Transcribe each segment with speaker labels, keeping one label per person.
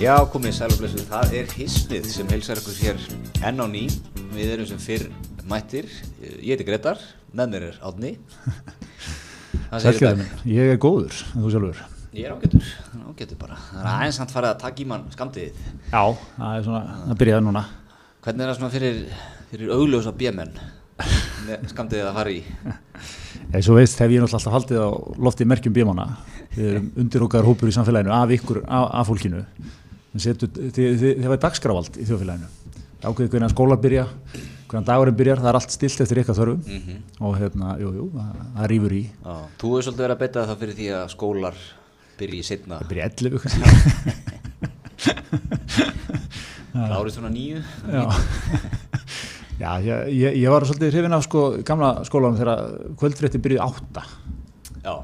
Speaker 1: Já, komið sælumlessu, það er hisnið sem heilsar ykkur hér enn á ný. Við erum sem fyrr mættir, ég heiti Gretar, með mér er Átni. Það segir
Speaker 2: Sælgæði
Speaker 1: þetta.
Speaker 2: minn, ég er góður, en þú sjálfur.
Speaker 1: Ég er ágætur, hann er ágætur bara. Það er aðeins hann farið að taka í mann skamtið.
Speaker 2: Já. Það er svona, það byrjaði núna.
Speaker 1: Hvernig er það svona fyrir, fyrir augljósa bjemenn skamtiðið að fara í?
Speaker 2: Eins og veist hef ég náttúrulega alltaf haldið á lofti merkjum bímanna. Við erum undirokkar hópur í samfélaginu, af ykkur, af, af fólkinu. En setur, þið, þið, þið hafaði dagskravald í þjóðfélaginu. Það ákveðið hvernig skólar byrja, hvernig dagurinn byrjar, það er allt stilt eftir ykkar þörfum. Og hérna, jú, jú, það, það rýfur í.
Speaker 1: Já, þú hefur svolítið verið að betta það fyrir því að skólar byrji setna.
Speaker 2: Það byrja 11 kannski.
Speaker 1: Árið svona nýju.
Speaker 2: Já, já ég, ég, ég var svolítið hrifin af sko, gamla skólanum þegar kvöldfrétti byrjuði átta.
Speaker 1: Já.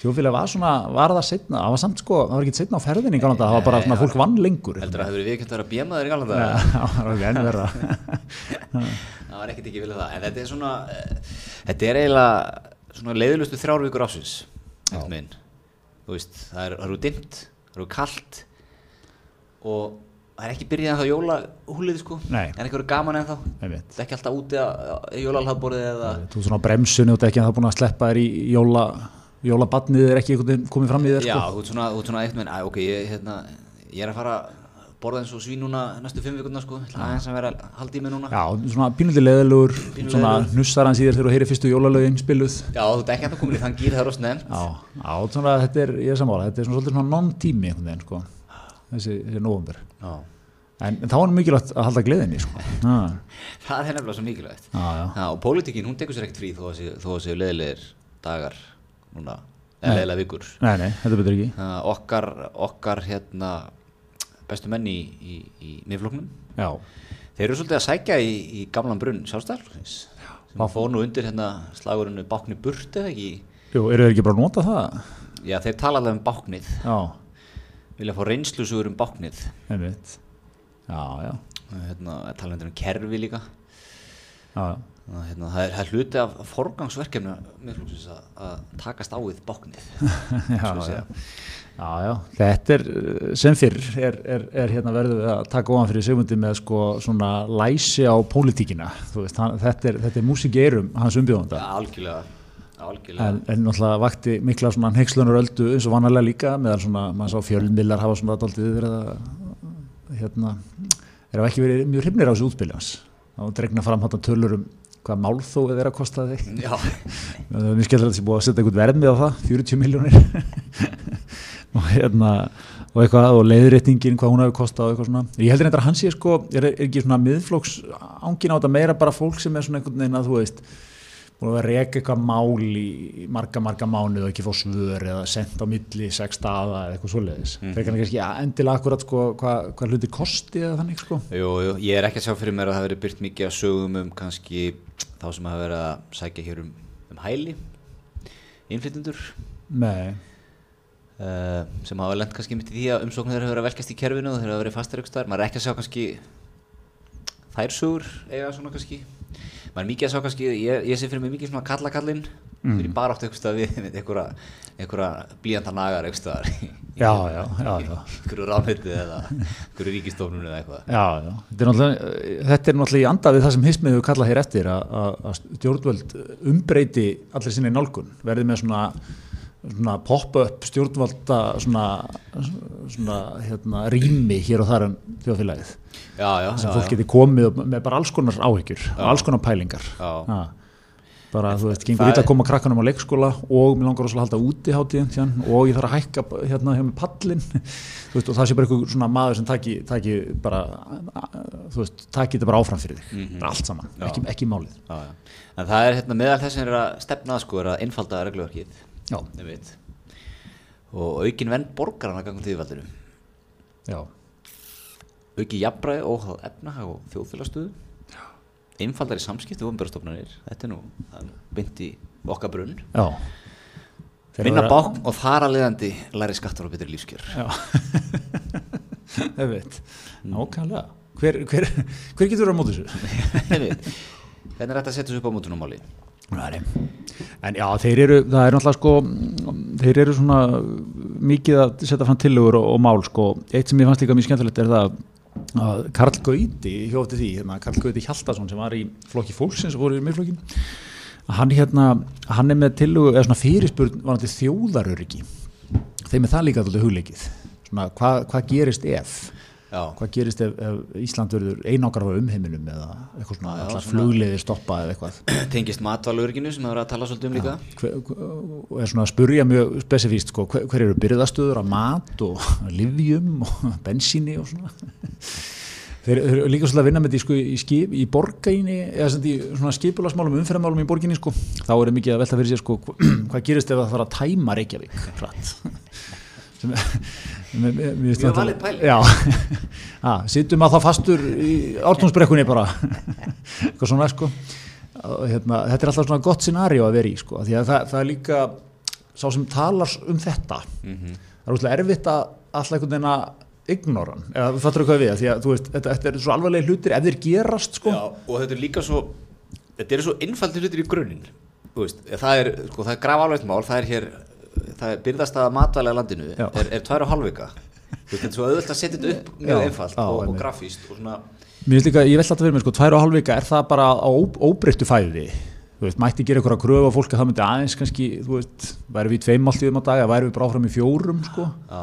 Speaker 2: Þjóðfélag var svona, var það setna, það var samt sko, það var ekki setna á ferðinni í galanda, það var bara svona fólk vann lengur.
Speaker 1: Heldur að það hefur verið viðkjönt að vera bjemaður í galanda?
Speaker 2: Já, það var ekki enn verða.
Speaker 1: það var ekkert ekki vilja það en þetta er svona eh, þetta er eiginlega svona leiðilustu þrjár vikur ásins þú veist, það er- það eru dimmt það eru kalt og það er ekki byrjað ennþá jólahúlið sko,
Speaker 2: Nei.
Speaker 1: það er ekki verið gaman ennþá
Speaker 2: Einmitt.
Speaker 1: það er ekki alltaf úti að jólalhaðborðið eða
Speaker 2: Þú svona á bremsunni og þetta ekki að það búin að sleppa þér í jóla, jólabatnið er ekki einhvern veginn komið fram í þér
Speaker 1: já,
Speaker 2: sko.
Speaker 1: þú ert svona, þú ert svona eitthvað að ok, ég, hérna, ég er að fara að borða eins og svín núna næstu fimm vikuna sko, Það er eins að vera að halda í mig núna
Speaker 2: Já, svona pínuldi leðilegur,
Speaker 1: Pínulítið
Speaker 2: svona nussar hans í þér þegar þú heyrir fyrstu jólalögin spiluð.
Speaker 1: já, þú ert ekki að koma í þann gýr það er rostnefn
Speaker 2: Já, á, svona, þetta er, ég er samála, þetta er svona svolítið svona non-tími einhvern veginn sko, þessi, þessi november.
Speaker 1: já
Speaker 2: En, en þá er mikilvægt að halda gleðinni sko. Já,
Speaker 1: Það er nefnilega svo mikilvægt.
Speaker 2: já, já.
Speaker 1: Já, og pólitíkin, hún tekur sér ekkert frí þó að sé- þó að séu leðilegir dagar núna, eða leðilega vikur.
Speaker 2: Nei, nei, þetta betur ekki.
Speaker 1: Það okkar, okkar hérna, bestu menn í, í, í miðfloknum,
Speaker 2: Já.
Speaker 1: þeir eru svolítið að sækja í, í gamlan brunn sjálfstæðarflokksins sem fór nú undir hérna slagurinu bákni burt eða ekki.
Speaker 2: Jú, eru þeir ekki bara að nota það?
Speaker 1: Já, þeir tala alveg um báknið,
Speaker 2: Já,
Speaker 1: vilja fá reynslusugur um báknið,
Speaker 2: einmitt. Já, já,
Speaker 1: hérna, tala um kerfi líka.
Speaker 2: já, já.
Speaker 1: Þannig að, Hérna, það, er, það er hluti af forgangsverkefna miðflokksins að, að takast á við báknið.
Speaker 2: já,
Speaker 1: við
Speaker 2: já.
Speaker 1: segja.
Speaker 2: já, já. Þetta er, uh, sem fyrr, er, er, er hérna verður við að taka ofan fyrir segundi með sko svona læsi á pólitíkina. Þú veist, hann, þetta er, þetta er músikeirum hans umbjóðanda.
Speaker 1: Já, algjörlega, algjörlega.
Speaker 2: En, en náttúrulega vakti mikla svona hnegslunar öldu eins og vanalega líka meðan svona, maður sá fjölmiðlar hafa svona daldið verið að hérna, er hafa ekki verið mjög hrifnir á þessu útbyrði hans. Þá dregna fram hann tölur um hvað málþóið er að kosta þig.
Speaker 1: Já,
Speaker 2: Það er mjög skemmtilegt að sé búið að setja einhvern verðmið á það, 40 miljónir og hérna og eitthvað og leiðréttingin, hvað hún hafi kostað og eitthvað svona. Ég heldur eitthvað að hann sé sko er, er ekki svona miðflóks ángin á þetta meira bara fólk sem er svona einhvern veginn að þú veist búin að vera að reka eitthvað mál í í marga, marga mánuð og ekki fá svör eða sendt á milli, sex staða eða eitthvað svoleiðis. Mm. Frekar hann kannski að endilega akkurat sko hvað hva hluti kosti eða þannig sko.
Speaker 1: jú, jú, ég er ekki að sjá fyrir mér að það hafi verið byrt mikið að sögum um kannski þá sem hafa verið að sækja hér um, um hæli, innflytundur,
Speaker 2: Nei,
Speaker 1: uh, sem hafa lent kannski mitt í því að umsóknir þeirra hafa verið að velkast í kerfinu og þeirra hafa verið fastar ykkur staðar, maður er ekki að sjá kannski þær sögur eiga svona kannski, maður er mikið að sjá kannski, ég, ég sé fyrir mig mikið svona kallakallinn, mm. fyrir bara átt ykkur stað við, við einhverja, einhverja blíjantanagar ykkur staðar, í- í-
Speaker 2: já, já, já, já.
Speaker 1: einhverju ráðnetið eða einhverju ríkistofnun eða eitthvað.
Speaker 2: Já, já. Þetta, er náttúrulega- þetta er náttúrulega í anda við það sem hismið hefur kallað hér eftir að- að að stjórnvöld umbreyti allir sinni nálgun, verði með svona, svona pop-up stjórnvalda svona, svona hérna, rými hér og þar um þjóðfélagið
Speaker 1: Já, já,
Speaker 2: sem
Speaker 1: já,
Speaker 2: fólk
Speaker 1: já.
Speaker 2: geti komið og- með bara alls konar áhyggjur og alls konar pælingar
Speaker 1: Já.
Speaker 2: Ha. bara þú veist, gengur
Speaker 1: það
Speaker 2: ít að
Speaker 1: er-
Speaker 2: koma krakkanum á leikskóla og mér langar rosalega að halda úti hátíðin síðan, og ég þarf að hækka b- hérna hjá mér pallin þú veist, og það sé bara einhver svona maður sem taki, taki bara a- a- þú veist, taki þetta bara áfram fyrir þig bara allt saman, ekki, ekki málið
Speaker 1: Mhm. Já, já. En það er hérna meðal þess sem er að stefna að sko er að einfalda reglurverkið
Speaker 2: já,
Speaker 1: einmitt. og aukin venn borgarana gangum tíðvaldinu
Speaker 2: já,
Speaker 1: auki jafnbræði, óháð efnahag og þjóðfélagstöðu einfaldari samskipti og umbyrðastofnanir þetta er nú, það er nú beint í okkar brunn
Speaker 2: já. Þeir
Speaker 1: minna
Speaker 2: vera-
Speaker 1: bákn og þar að leiðandi læri skattar og betri lífskjör
Speaker 2: já það veit,
Speaker 1: Mhm.
Speaker 2: nákvæmlega hver, hver, hver getur verið á móti þessu?
Speaker 1: Einmitt. hvernig er þetta að setja þessu upp á mútunumáli
Speaker 2: Nei. En já, þeir eru, það er náttúrulega sko, mm, þeir eru svona uh, mikið að setja fram tillögur og, og mál sko. eitt sem ég fannst líka mjög skemmtilegt er það að Karl Gauti hjófti því, hérna, Karl Gauti Hjaltason sem var í flokki fólksins og voru í miðflokkin að hann hérna, hann er með tillögu eða svona fyrirspurn varandi þjóðaröryggi þeim er það líka alltaf hugleikið svona hvað hva gerist ef
Speaker 1: Já,
Speaker 2: hvað gerist ef, ef Ísland verður einangar á umheiminum eða eitthvað svona,
Speaker 1: Já,
Speaker 2: allar
Speaker 1: svona-
Speaker 2: flugleiðir stoppa eða eitthvað
Speaker 1: tengist matvalurginu sem það var að tala svolítið um líka
Speaker 2: hver, og er svona að spurja mjög spesifíst sko, hver, hver eru byrðastöður af mat og livjum og bensíni og svona þeir þeir eru líka svolítið að vinna með því sko, í, skip, í borgaini eða sem því svona skipulagsmálum umferðamálum í borginni sko, þá er mikið að velta fyrir sér sko, hva- hvað gerist ef það þarf að tæma Reykjavík hratt sem mér- mér- mér
Speaker 1: Mjög
Speaker 2: finnst þetta-
Speaker 1: valid pæling.
Speaker 2: Já, að, sittum að það fastur í ártónsbrekkunni bara eitthvað svona sko Og hérna, þetta er alltaf svona gott scenario að vera í sko, af því að það, það er líka sá sem talar um þetta það er útla erfitt að alltaf einhvern veginn að ignora hann, eða þú fattur eitthvað við af því að þú veist, þetta, þetta er svo alvarlega hlutir ef þeir gerast sko
Speaker 1: Já, og þetta er líka svo þetta eru svo innfaldir hlutir í grunninn Þú veist, það er, sko, það er graf alveg mál það er hér, það er byrðast að matvælega landinu,
Speaker 2: Já.
Speaker 1: er, er tvær og halvvika Þú veist, þetta er svo auðvöld að setja þetta upp mjög
Speaker 2: Já,
Speaker 1: einfalt
Speaker 2: já,
Speaker 1: og, og
Speaker 2: einmitt.
Speaker 1: grafíst og svona,
Speaker 2: Mér finnst líka, ég veldi alltaf fyrir mér sko, tvær og halv vika, er það bara á ó- óbreyttu fæði? Þú veist, mætti gera ykkur að kröfa fólk að það myndi aðeins kannski, þú veist, væri við í tveim alltíðum á dag, eða væri við bara áfram í fjórum, sko?
Speaker 1: já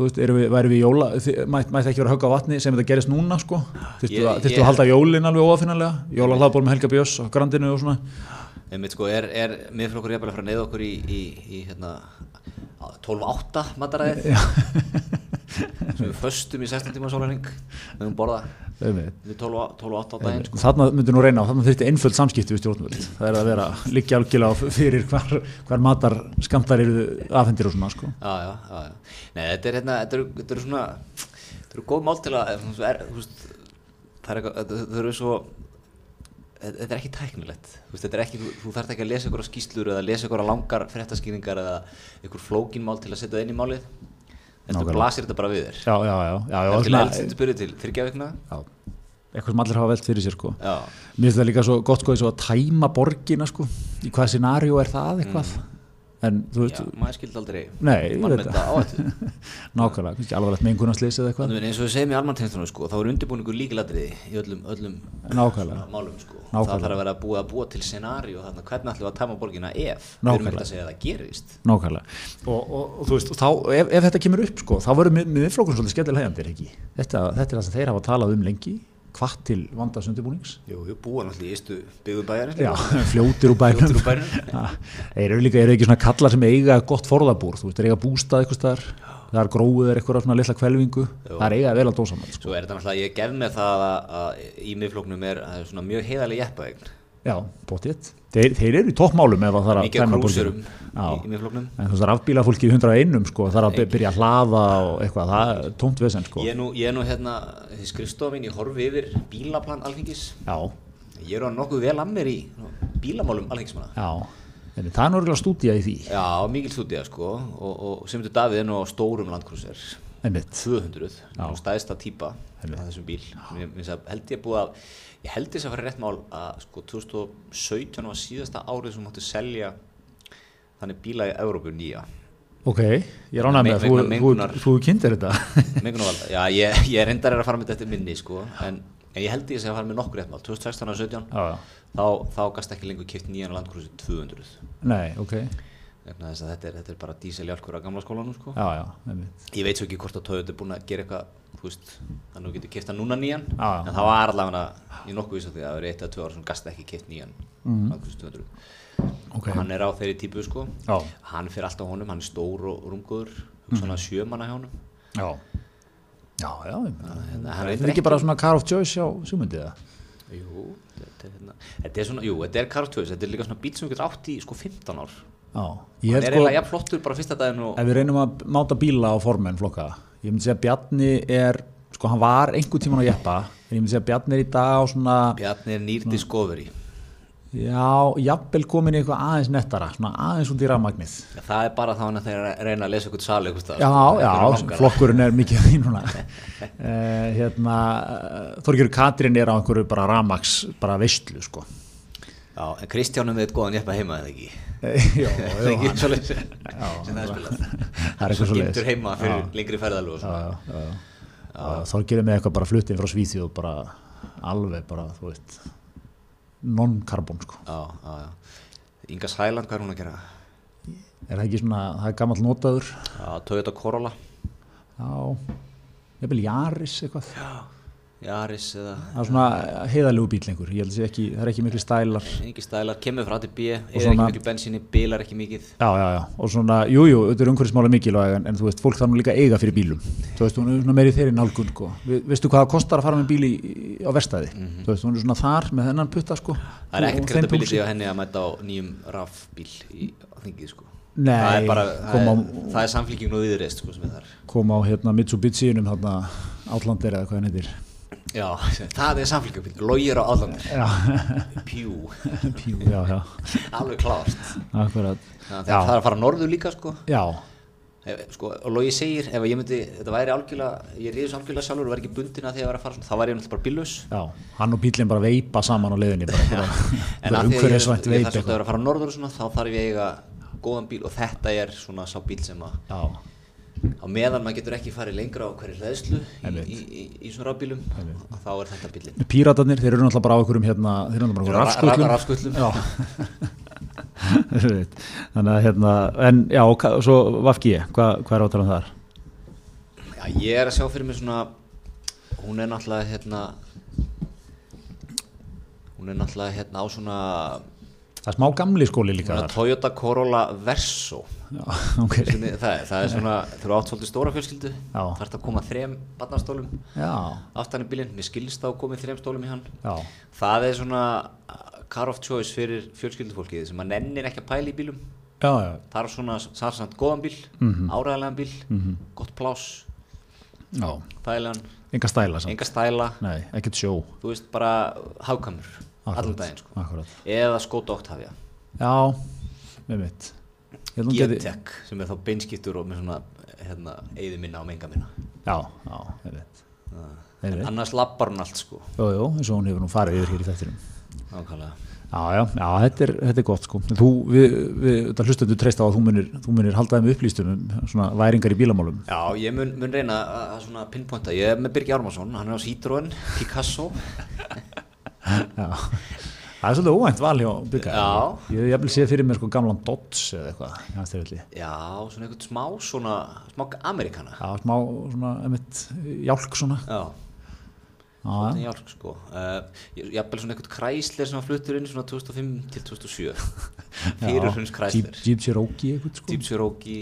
Speaker 2: Þú veist, erum við, væri við í jóla, þi- mætti, mætti ekki vera að högga á vatni sem þetta gerist núna, sko? Þyrstu
Speaker 1: Ég-
Speaker 2: að, þyrftu
Speaker 1: ég-
Speaker 2: að halda jólin alveg óafinnanlega, jólahlaðból með Helga Björns á Grandinu og svona?
Speaker 1: einmitt sko, er, er miðflokkur jafnvel að fara að neyða okkur í, í, í hérna, á 12-8 mataræðið sem við föstum í 16 tíma sólarning við höfum borða
Speaker 2: Einmitt.
Speaker 1: við 12-8 á daginn sko.
Speaker 2: Þarna myndi nú reyna á, þarna þurfti einföld samskipti við stjórnvöld. Það er að vera liggja algjörlega fyrir hvar, hvar matar skamtar eru afhendir og svona, sko.
Speaker 1: já, já, já, já. Nei, þetta er hérna, þetta eru, þetta eru svona þetta eru góð mál til að svona svo er, þú veist, það er eitthvað, þetta- þetta eru svo þetta er ekki tæknilegt þú, veist, þetta er ekki, þú, þú þarft ekki að lesa ykkur á skýslur eða lesa ykkur á langar fréttaskýringar eða ykkur flókinmál til að setja það inn í málið þetta
Speaker 2: Nákvæmlega.
Speaker 1: blasir þetta bara við þér
Speaker 2: Já, já, já, já, já
Speaker 1: það er til
Speaker 2: svona-
Speaker 1: eldstundu byrju til þryggja vikna
Speaker 2: Já, eitthvað sem allir hafa velt fyrir sér sko.
Speaker 1: já,
Speaker 2: Mér finnst það líka svo gott sko eins og að tæma borgina sko, í hvaða scenario er það eitthvað, en þú
Speaker 1: Mm. já,
Speaker 2: veist,
Speaker 1: maður skildi aldrei
Speaker 2: Nei, ég
Speaker 1: mann
Speaker 2: veit
Speaker 1: með
Speaker 2: það.
Speaker 1: þetta áhættu
Speaker 2: nákvæmlega, kannski alvarlegt mengunarslis eða eitthvað,
Speaker 1: Þannig að eins og við segjum í almanntengslunum sko, þá er undirbúningur líkilatriði í öllum, öllum
Speaker 2: Nákvæmlega.
Speaker 1: svona málum sko.
Speaker 2: Nákvæmlega.
Speaker 1: Það þarf að vera búið að búa til scenaríu þarna, hvernig ætlum við að tæma borgina ef við erum
Speaker 2: Nákvæmlega.
Speaker 1: ekkert að segja að það gerist.
Speaker 2: nákvæmlega. Og, og, og þú veist, og þá, ef, ef þetta kemur upp sko, þá verður mið- miðflokkurinn svolítið skemmtilega hefjandir ekki. Þetta, þetta er það sem þeir hafa talað um lengi, hvað til vandasundibúnings.
Speaker 1: Jú, við búa náttúrulega í istu byggðum bæjarins.
Speaker 2: Já, fljótir úr bænum.
Speaker 1: Fljótir úr bænum.
Speaker 2: Já, Þeir eru líka, eru ekki svona kallar sem eiga gott forðabúr, þú veist, þeir eiga bústað eitthvað staðar, það er gróður eitthvað svona litla kvelvingu, það er eiga vel að dósa sko.
Speaker 1: Svo er þetta náttúrulega, ég gef með það að, að í miðflóknum er, að það er svona mjög heiðalega jeppaegn.
Speaker 2: Já, bóttið. Þeir, þeir eru í toppmálum ef það er að
Speaker 1: Mikið af
Speaker 2: dæma
Speaker 1: krúsurum
Speaker 2: borgina.
Speaker 1: í, í
Speaker 2: Já,
Speaker 1: miðflóknum.
Speaker 2: en þú veist það er afbíla fólki í 101 sko, það er að by- byrja að hlaða og eitthvað, það er tómt vesen sko.
Speaker 1: Ég er nú, ég er nú hérna, því skrifstofa mín, ég horfi yfir bílaplan alþingis.
Speaker 2: Já,
Speaker 1: Ég er á nokkuð vel að mér í bílamálum alþingismanna.
Speaker 2: já. En það er náttúrulega stúdía í því,
Speaker 1: Já, mikil stúdíja sko og, og sem þetta Davíð er nú á stórum landkrusir
Speaker 2: einmitt.
Speaker 1: 200,
Speaker 2: Já.
Speaker 1: hún stæðist að týpa á
Speaker 2: Einmitt.
Speaker 1: þessum bíl mér, mér sag, held ég búið að, ég held þess að fara rétt mál að sko 2017 var síðasta árið sem máttu selja þannig bíla í Európu nýja
Speaker 2: Ok, ég ránaði með
Speaker 1: Vegna
Speaker 2: að þú, þú,
Speaker 1: mengunar.
Speaker 2: þú, þú kynntir þetta.
Speaker 1: Mengunarvalda, já ég, ég reyndar er að fara með þetta eftir minni sko en, en ég held ég þess að fara með nokkur rétt mál 2016 og 17
Speaker 2: já, já.
Speaker 1: þá, þá gasta ekki lengur kipt nýjan landkrusir 200
Speaker 2: Nei, ok.
Speaker 1: vegna þess að þetta er, þetta er bara díseljálkur á gamla skólanum sko
Speaker 2: Já, já, einmitt.
Speaker 1: ég veit svo ekki hvort að Toyota er búin að gera eitthvað þú veist, þannig að þú getur kipta núna nýjan
Speaker 2: Já,
Speaker 1: en
Speaker 2: já.
Speaker 1: það var allavega ég er nokkuð viss á því að það verið eitt eða tvö ára sem gasta ekki kipt nýjan Magnús 200.
Speaker 2: Mhm. Ok.
Speaker 1: hann er á þeirri típu sko
Speaker 2: Já. Mhm.
Speaker 1: hann fyrir alltaf honum, hann er stór og rungur svona mm. sjömanna hjá honum
Speaker 2: Já. Já, já, ég meina.
Speaker 1: hérna, hann
Speaker 2: Það
Speaker 1: reyndar
Speaker 2: er ekki bara svona car of choice á sjúmyndið það.
Speaker 1: jú, þetta er, hérna, þetta er svona jú, þetta er kartöðs, þetta er líka svona bíl sem við getum átt í sko 15 ár
Speaker 2: Já.
Speaker 1: hann
Speaker 2: Ég
Speaker 1: er
Speaker 2: held sko,
Speaker 1: eiginlega jafn flottur bara fyrsta daginn og
Speaker 2: ef við reynum að máta bíla á formenn flokka ég myndi segja að Bjarni er sko hann var einhver tíman á jeppa en ég myndi segja að Bjarni er í dag á svona
Speaker 1: Bjarni er
Speaker 2: Mm.
Speaker 1: nýr Discovery
Speaker 2: já, jafnvel komin í eitthvað aðeins nettara svona aðeins út í rafmagnið
Speaker 1: Já, það er bara þá hann að þeir reyna að lesa eitthvað sali sko. eitthvað
Speaker 2: já, já, sko, flokkurinn er mikið að því núna eh, uh, hérna Þorgjörg Katrin er á einhverju bara rafmags bara veistlu sko
Speaker 1: Já, en Kristjánum við góðan jeppa heima eða ekki
Speaker 2: Eh, já,
Speaker 1: Það er ekki
Speaker 2: hann-
Speaker 1: svoleiðis sem
Speaker 2: Já,
Speaker 1: það er spilað
Speaker 2: það
Speaker 1: Svo
Speaker 2: er eitthvað svoleiðis.
Speaker 1: geymdur heima fyrir
Speaker 2: Já.
Speaker 1: lengri ferðalög og
Speaker 2: já,
Speaker 1: svona.
Speaker 2: já, já. Þorgir er með eitthvað bara fluttinn frá Svíþjóð bara alveg bara, þú veist non-carbon sko
Speaker 1: Já, já, já Inga Sæland, hvað er hún að gera?
Speaker 2: er það ekki svona, það er gamall notaður
Speaker 1: Já, Toyota Corolla
Speaker 2: já, nefnilega Jaris eitthvað það
Speaker 1: Jaris eða
Speaker 2: er svona heiðalegu bíl einhver ég held að sé ekki, það er ekki miklu stælar
Speaker 1: Engi stælar, kemur frá ATB, er ekki
Speaker 2: svona-
Speaker 1: miklu bensinni, bilar ekki mikið
Speaker 2: Já, já, já, og svona, jú, jú, þetta er umhverfismála mikilvæg en, en þú veist, fólk þarf nú líka að eiga fyrir bílum þú veist, hún er svona meiri þeirri nálgun sko. Vi, veistu hvað það kostar að fara með bíl í, í- á verstaði, þú veist, hún er svona þar með þennan putta, sko
Speaker 1: Mhm. Það er
Speaker 2: og- og
Speaker 1: ekkert
Speaker 2: þeim
Speaker 1: kredibiliti
Speaker 2: buxum.
Speaker 1: á henni að mæta á nýjum rafbíl í á þingið sko
Speaker 2: Nei,
Speaker 1: Það er bara, það
Speaker 2: koma
Speaker 1: er,
Speaker 2: á-
Speaker 1: það er samflíkingin og viðreist sko sem er þar
Speaker 2: kom á hérna Mitsubishi-inum þarna Outlander eða hvað hann heitir
Speaker 1: Já, það er samflíkingabíl, logir á allanir
Speaker 2: Já,
Speaker 1: Pjú,
Speaker 2: pjú, já, já,
Speaker 1: alveg klárt
Speaker 2: akkurat
Speaker 1: Þannig að það þarf að fara norður líka sko
Speaker 2: Já,
Speaker 1: Ef, sko, og logi segir, ef ég myndi, þetta væri algjörlega, ég reyðis algjörlega sjálfur og væri ekki bundin að því að vera að fara svona, þá væri ég náttúrulega bara bíllaus.
Speaker 2: já, hann og bílinn bara veipa saman á leiðinni bara,
Speaker 1: En
Speaker 2: bara
Speaker 1: að því að ég, ég
Speaker 2: umhverfisvænt
Speaker 1: þarf
Speaker 2: veip
Speaker 1: svolítið að
Speaker 2: eitthvað
Speaker 1: vera að fara norður og svona, þá þarf ég að eiga góðan bíl og þetta er svona sá bíl sem að,
Speaker 2: Já,
Speaker 1: á meðan maður getur ekki farið lengra á hverju hlæðslu í,
Speaker 2: Einmitt.
Speaker 1: í, í, í svona rafbílum, þá er þetta bílinn.
Speaker 2: Píratarnir, þeir eru náttúrulega bara á einhverjum hérna, þeir eru
Speaker 1: Þeir
Speaker 2: náttúrulega
Speaker 1: eru á
Speaker 2: bara á einhverjum
Speaker 1: ra- ra- rafskutlum.
Speaker 2: Já Þú veit. Þannig að hérna, en já, og ka- svo Vafki, hvað hva er átalan þar?
Speaker 1: Já, ég er að sjá fyrir mér svona, hún er náttúrulega hérna, hún er náttúrulega hérna á svona,
Speaker 2: Það er smá gamli skóli líka
Speaker 1: svona
Speaker 2: þar
Speaker 1: Toyota Corolla Verso.
Speaker 2: Já, ok
Speaker 1: Sinni, það, er- það er svona, þú eru átt svolítið stóra fjölskyldu
Speaker 2: Já.
Speaker 1: þarf að koma þrem barnastólum
Speaker 2: Já,
Speaker 1: aftan í bílinn, mér skilst þá komið þrem stólum í hann
Speaker 2: já,
Speaker 1: það er svona car of choice fyrir fjölskyldufólkið sem að nennir ekki að pæla í bílum
Speaker 2: já, já,
Speaker 1: þarf svona sarsamt góðan bíl mm
Speaker 2: Mhm.
Speaker 1: áræðilegan bíl, gott plás
Speaker 2: já.
Speaker 1: þægilegan,
Speaker 2: Enga stæla samt
Speaker 1: enga stæla
Speaker 2: Nei, ekkert sjó
Speaker 1: þú veist bara hagkamur allan daginn sko
Speaker 2: Akkurat
Speaker 1: eða skóta Octavia,
Speaker 2: Já, með mitt Ég held hún geti-
Speaker 1: G-Tech E sem er þá beinskiptur og með svona hérna, eigði minna og menga minna
Speaker 2: Já, já, með mitt Með
Speaker 1: en
Speaker 2: mitt
Speaker 1: annars lappar hún allt sko
Speaker 2: Jó, jó, eins og hún hefur nú farið yfir hér í þettinum
Speaker 1: Nákvæmlega.
Speaker 2: Já, já, já, þetta er, þetta er gott sko. Þú, við, við, þetta hlustendur treyst á að þú munir, þú munir haldaði með upplýstum um svona væringar í bílamálum.
Speaker 1: Já, ég mun, mun reyna að að svona pinpointa, ég er með Birgi Ármarsson, hann er á Citroen, Picasso,
Speaker 2: Já. Það er svolítið óvænt val hjá byggar.
Speaker 1: Já.
Speaker 2: Ég hef jafnvel séð fyrir mér sko gamlan Dodge eða eitthvað, í hans þeirrelli.
Speaker 1: já, svona einhvern smá svona, smá amerikana.
Speaker 2: Já, smá svona, emitt, jálk svona.
Speaker 1: Já,
Speaker 2: Já,
Speaker 1: svona jálk sko. Uh, ég ég hafði svona einhvern kræsler sem að fluttur inn svona 2005 til 2007, fyrir hunds
Speaker 2: Jeep,
Speaker 1: kræsler,
Speaker 2: Jeep Cherokee eitthvað sko.
Speaker 1: Deep Cherokee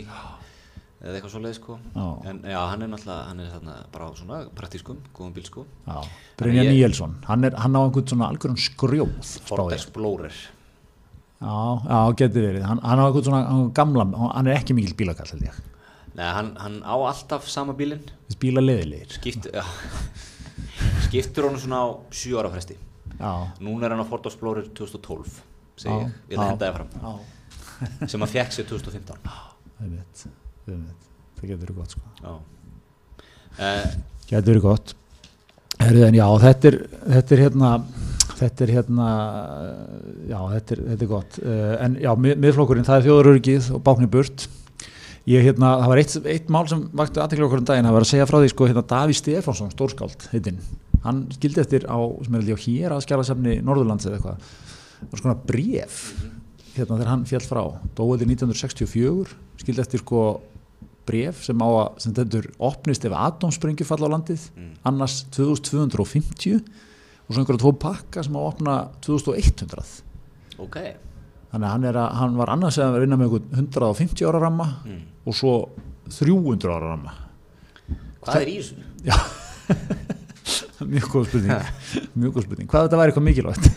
Speaker 1: eða eitthvað svoleiði sko.
Speaker 2: Já.
Speaker 1: En já, hann er náttúrulega, hann er þarna bara á svona praktískum, góðum bíl sko.
Speaker 2: Já. Brynja
Speaker 1: Þannig ég-
Speaker 2: Níelsson, hann, er, hann á einhvern svona algjörun skrjóð.
Speaker 1: Ford
Speaker 2: spáði ég.
Speaker 1: Explorer.
Speaker 2: Já, já, getur verið. Hann, hann á einhvern svona hann, gamlan, hann er ekki mikil bílakall held ég.
Speaker 1: Nei, hann, hann á alltaf sama bílinn,
Speaker 2: Þessi Bílar leðilegir.
Speaker 1: skipt, já, skiptur honum svona á 7 ára fresti.
Speaker 2: Já,
Speaker 1: Núna er hann á Ford Explorer 2012 segi
Speaker 2: Já,
Speaker 1: ég, ég ætla að
Speaker 2: já.
Speaker 1: henda það fram
Speaker 2: Já,
Speaker 1: sem hann fekk sér 2015
Speaker 2: einmitt, einmitt. það getur verið gott sko.
Speaker 1: Já uh,
Speaker 2: Getur verið gott. Herðu en já, þetta er, þetta er hérna, þetta er hérna, já, þetta er, þetta er gott. Uh, en já, mið- miðflokkurinn, það er þjóðarörgið og báknir burt. Ég hérna, það var eitt, eitt mál sem vakti aðtekla okkur um daginn, það var að segja frá því sko hérna Daví Stefánsson, stórskáld, heitinn, hann skildi eftir á, sem er held ég á hér að skjálasefni Norðurlands eða eitthvað, það var skona bréf, hérna þegar hann fjall frá, dóiði 1964, skildi eftir sko bréf sem á að, sem þetta opnist ef atomsprengjur falla á landið, annars 2250 og svo einhverja tvo pakka sem á að opna 2100
Speaker 1: ok
Speaker 2: þannig að hann, er að, hann var annars að vinna með einhvern 150 ára ramma og svo 300 ára ramma
Speaker 1: hvað er í þessu?
Speaker 2: já mjög góð spurning mjög góð spurning hvað þetta væri eitthvað mikilvægt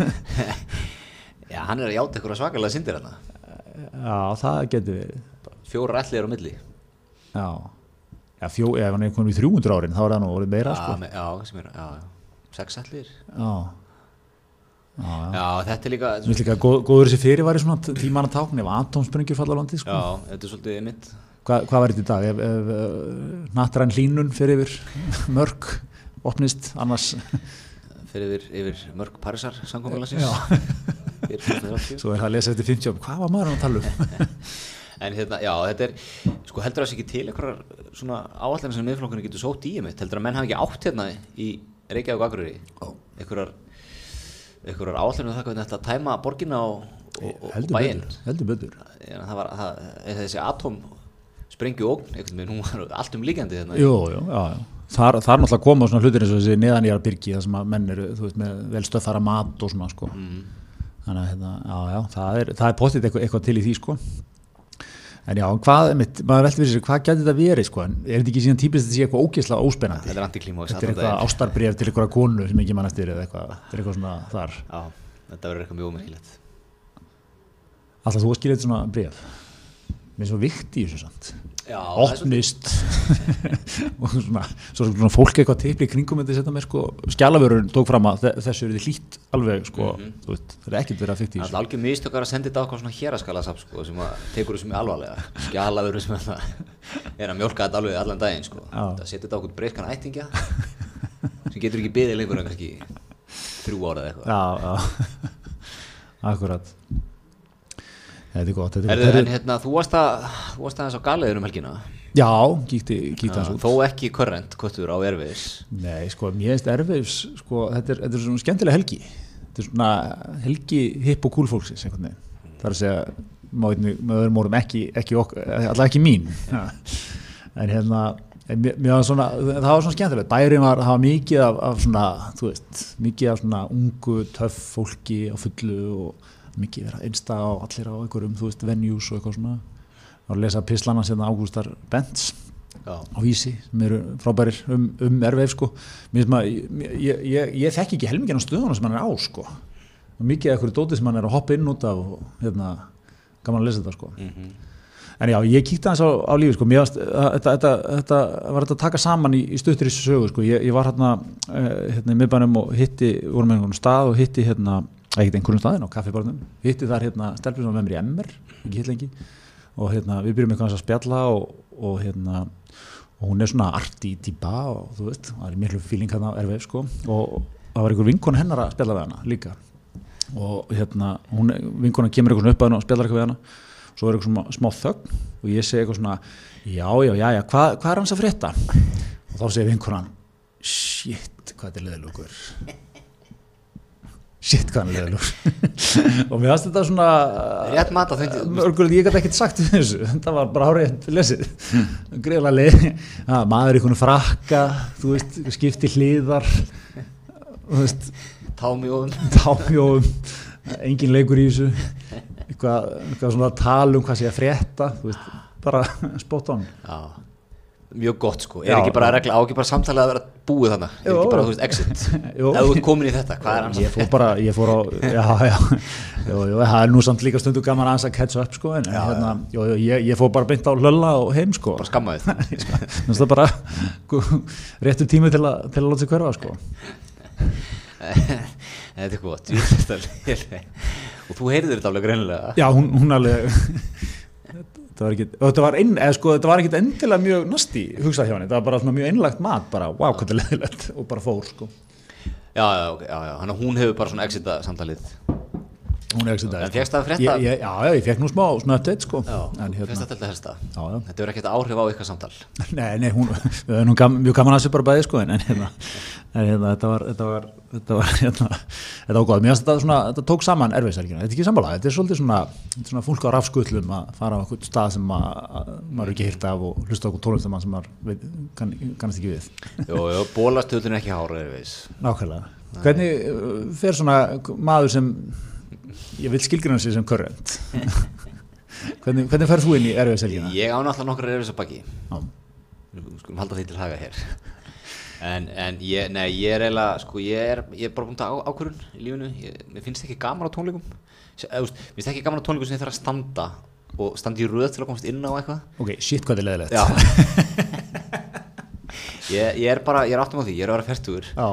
Speaker 1: Já, hann er að játa ykkur að svakalega syndir hann
Speaker 2: já það getur verið
Speaker 1: fjóra allir á milli
Speaker 2: já Já, fjó, ef hann er komin í 300 árin, þá er það nú orðið meira,
Speaker 1: Já,
Speaker 2: sko.
Speaker 1: me- Ah, já, sem er, já, já, sex allir
Speaker 2: Já. Já, já. sko.
Speaker 1: Já, þetta er líka
Speaker 2: Mér finnst líka góð, góður þessi fyrirværi svona tímanna tákn ef atomsprengjur falla á landið, sko.
Speaker 1: Já, þetta er svolítið mitt
Speaker 2: Hva, hvað var þetta í dag? Ef, ef eh, nattræn hlínun fyrir yfir mörg opnist, annars
Speaker 1: fyrir yfir, yfir mörg parisar samkomulega
Speaker 2: Já.
Speaker 1: síns eftir 2030.
Speaker 2: Svo er það að lesa eftir 50 árum, hvað var maður að tala um?
Speaker 1: en hérna, já, þetta er sko heldur það sé ekki til einhverjar svona áallan sem miðflokkurinn getur sótt í einmitt heldur að menn hafa ekki átt hérna í Reykjavík og Akureyri einhverjar, einhverjar áallan um það hvernig þetta að tæma borginna og, og, og
Speaker 2: Eh, Heldur
Speaker 1: bæinn
Speaker 2: betur, heldur betur.
Speaker 1: En það var það, er þessi atóm sprengju ógn, einhvern veginn, hún var allt um líkandi hérna.
Speaker 2: Jú, jú, já, já. Þar, þar náttúrulega koma svona hlutir eins og þessi neðan í byrgi þar sem að menn eru, þú veist, með vel stöðfara mat og svona, sko. Þannig að, hérna, já, já, það er, það er pottið eitthvað, eitthvað til í því, sko. En já, hvað, mitt, maður velti fyrir sér, hvað gæti þetta verið, sko, en er þetta ekki síðan típist að þetta sé eitthvað ógeðslega óspennandi?
Speaker 1: Þetta er antiklímax
Speaker 2: Þetta er
Speaker 1: allan
Speaker 2: eitthvað
Speaker 1: daginn.
Speaker 2: ástarbréf til eitthvað konu sem ekki mann eftir eða eitthvað, þetta er eitthvað svona þar.
Speaker 1: Já, þetta verður eitthvað mjög ómerkilegt.
Speaker 2: Alltaf þú að skilja þetta svona bréf. Mér er svo vikt í þessu samt.
Speaker 1: Já, það er svo-
Speaker 2: Opnist. og svona, svo svona fólk eitthvað tippi í kringum þetta setja með sko, skjálavörun tók fram að þe- þessu eru þið hlýtt alveg sko,
Speaker 1: Mhm.
Speaker 2: þú veit, það er ekkert verið að fikta í
Speaker 1: Það er
Speaker 2: þessu.
Speaker 1: alltaf algjör mistökkar að senda þetta á eitthvað svona héraskalasafn sko, sem að tekur þessu mjög alvarlega skjalaður sem að það er að mjólka þetta alveg allan daginn sko.
Speaker 2: Já.
Speaker 1: það setur þetta á okkur breyskan ættingja sem getur ekki beðið lengur en kannski þrjú ára eða eitthvað
Speaker 2: Já, já, akkurat. Þetta er gott, þetta er
Speaker 1: Herðu,
Speaker 2: gott.
Speaker 1: en hérna, þú varst að þú varst aðeins á galiðinu um helgina
Speaker 2: Já, kíkti, kíkti hans
Speaker 1: Já, þó ekki körrent kvöttur á erfiðis
Speaker 2: Nei, sko, mér finnst erfiðs, sko, þetta er, þetta er svona skemmtilega helgi. Þetta er svona helgi hipp og cool fólksins, einhvern veginn. Það er að segja, maður veit, maður verður mórum ekki, ekki ok, alltaf ekki mín. Ja. en hérna, en mér, mér var svona, það var svona skemmtilegt. Bærin var, það var mikið af, af svona, þú veist, mikið af svona ungu, töff fólki á fullu og mikið verið að einsta á allir á einhverjum, þú veist, venues og eitthvað svona. Það var að lesa pislana sérna Ágústar Benz
Speaker 1: Já,
Speaker 2: á vísi sem eru frábærir um, um erfið sko. Mér finnst maður- ég, ég, ég, ég þekki ekki helmingin á stöðunum sem hann er á sko. og mikið af einhverju dóti sem hann er að hoppa inn út af og hérna, gaman að lesa þetta sko.
Speaker 1: Mhm.
Speaker 2: en já, ég kíkti aðeins á, á lífi sko. Mér varst, þetta, þetta, þetta var þetta að taka saman í, í stuttir í sögu sko. ég, ég var hérna, eh, hérna í miðbænum og hitti, vorum með einhvern stað og hitti hérna, ekkert einhvern staðin á kaffibarnum hitti þar hérna stelpur sem var með mér í MR ekki hitt lengi og hérna, við byrjum eitthvað að spjalla og, og hérna og hún er svona arti típa og þú veist, það er miklu fíling hérna á RVF sko og það var einhver vinkon hennar að spjalla við hana líka og hérna, hún, vinkona kemur eitthvað svona upp að hennar og spjallar eitthvað við hana svo er eitthvað svona smá þögn og ég segi eitthvað svona já, já, já, já, hvað, hvað er hans að frétta? og þá segir vinkonan shit, hvað þetta er leðilugur shit, hvað hann er leðilugur og mér aðstæða svona
Speaker 1: Rétt mat á þeim tíma.
Speaker 2: Mörgulegt, ég gæti ekkert sagt við þessu, þetta var bara árétt lesið, greiðlega leið, að maður í einhvern frakka, þú veist, skipti hliðar, þú veist,
Speaker 1: támi og
Speaker 2: támjóum, engin leikur í þessu, eitthvað, eitthvað svona tal um hvað sé að frétta, þú veist, bara spot on.
Speaker 1: Já, mjög gott sko er
Speaker 2: Já.
Speaker 1: ekki bara regla, á ekki bara samtalið að vera búið þannig er
Speaker 2: Jú.
Speaker 1: ekki bara, þú veist, exit
Speaker 2: Jú.
Speaker 1: ef þú ert komin í þetta, hvað er annars
Speaker 2: Ég fór bara, ég fór á, já, já, jú, jú, það er nú samt líka stundu gaman aðeins að catch up, sko, en hérna, jú, jú, ég, ég fór bara beint á hlölla og heim, sko.
Speaker 1: bara skammaðið
Speaker 2: Mér finnst það bara réttur tími til að, til að láta sig hverfa sko.
Speaker 1: þetta er gott, jú, þetta er lélegt. og þú heyrðir þetta alveg greinilega
Speaker 2: Já, hún, hún alveg þetta var ekkit, og þetta var, inn, eða, sko, þetta var ekkit endilega mjög nasti hugsað hjá henni, þetta var bara svona mjög einlagt mat bara, wow, hvað er leðilegt og bara fór sko.
Speaker 1: já, já, ok, já, já, hann hún hefur bara svona exita samtalið
Speaker 2: Hún er ekki þetta.
Speaker 1: En fékkstu að frétta?
Speaker 2: Ég, ég, já, já, ég fekk nú smá svona update sko.
Speaker 1: já,
Speaker 2: en
Speaker 1: hérna.
Speaker 2: hérna,
Speaker 1: þetta alltaf helsta
Speaker 2: já, já.
Speaker 1: þetta verður ekkert áhrif á ykkar samtal
Speaker 2: Nei, nei, hún, við höfum nú gam, mjög gaman að þessu bara bæði sko, en, en, hérna, en hérna, þetta var, þetta var, þetta var, hérna, þetta var góð, mér finnst þetta svona, þetta tók saman erfiðsælgina, þetta er ekki sammála, þetta er svolítið svona, þetta er svona fólk á rafskullum að fara á einhvern stað sem að, að maður er ekki hýrt af og hlusta á okkur tónlistamann sem maður veit, kann, kannast ekki við.
Speaker 1: jú, jú, bólastöðun er ekki hára, er veis
Speaker 2: Nákvæmlega. Hvernig uh, fer svona maður sem, ég vil skilgrina sig sem körrend, hvernig, hvernig fer þú inn í erfiðsælgina?
Speaker 1: ég án alltaf nokkra erfis að baki
Speaker 2: Já.
Speaker 1: Nú skulum halda því til haga hér en, en ég, nei, ég er eiginlega sko, ég er, ég er bara búin að ákvörun í lífinu, ég, mér finnst ekki gaman á tónleikum S- eða, þú veist, mér finnst ekki gaman á tónleikum sem ég þarf að standa og standa í röð til að komast inn á eitthvað
Speaker 2: Ok, shit hvað þetta er leðilegt.
Speaker 1: já ég, ég er bara, ég er áttum á því, ég er að vera færtugur
Speaker 2: Já.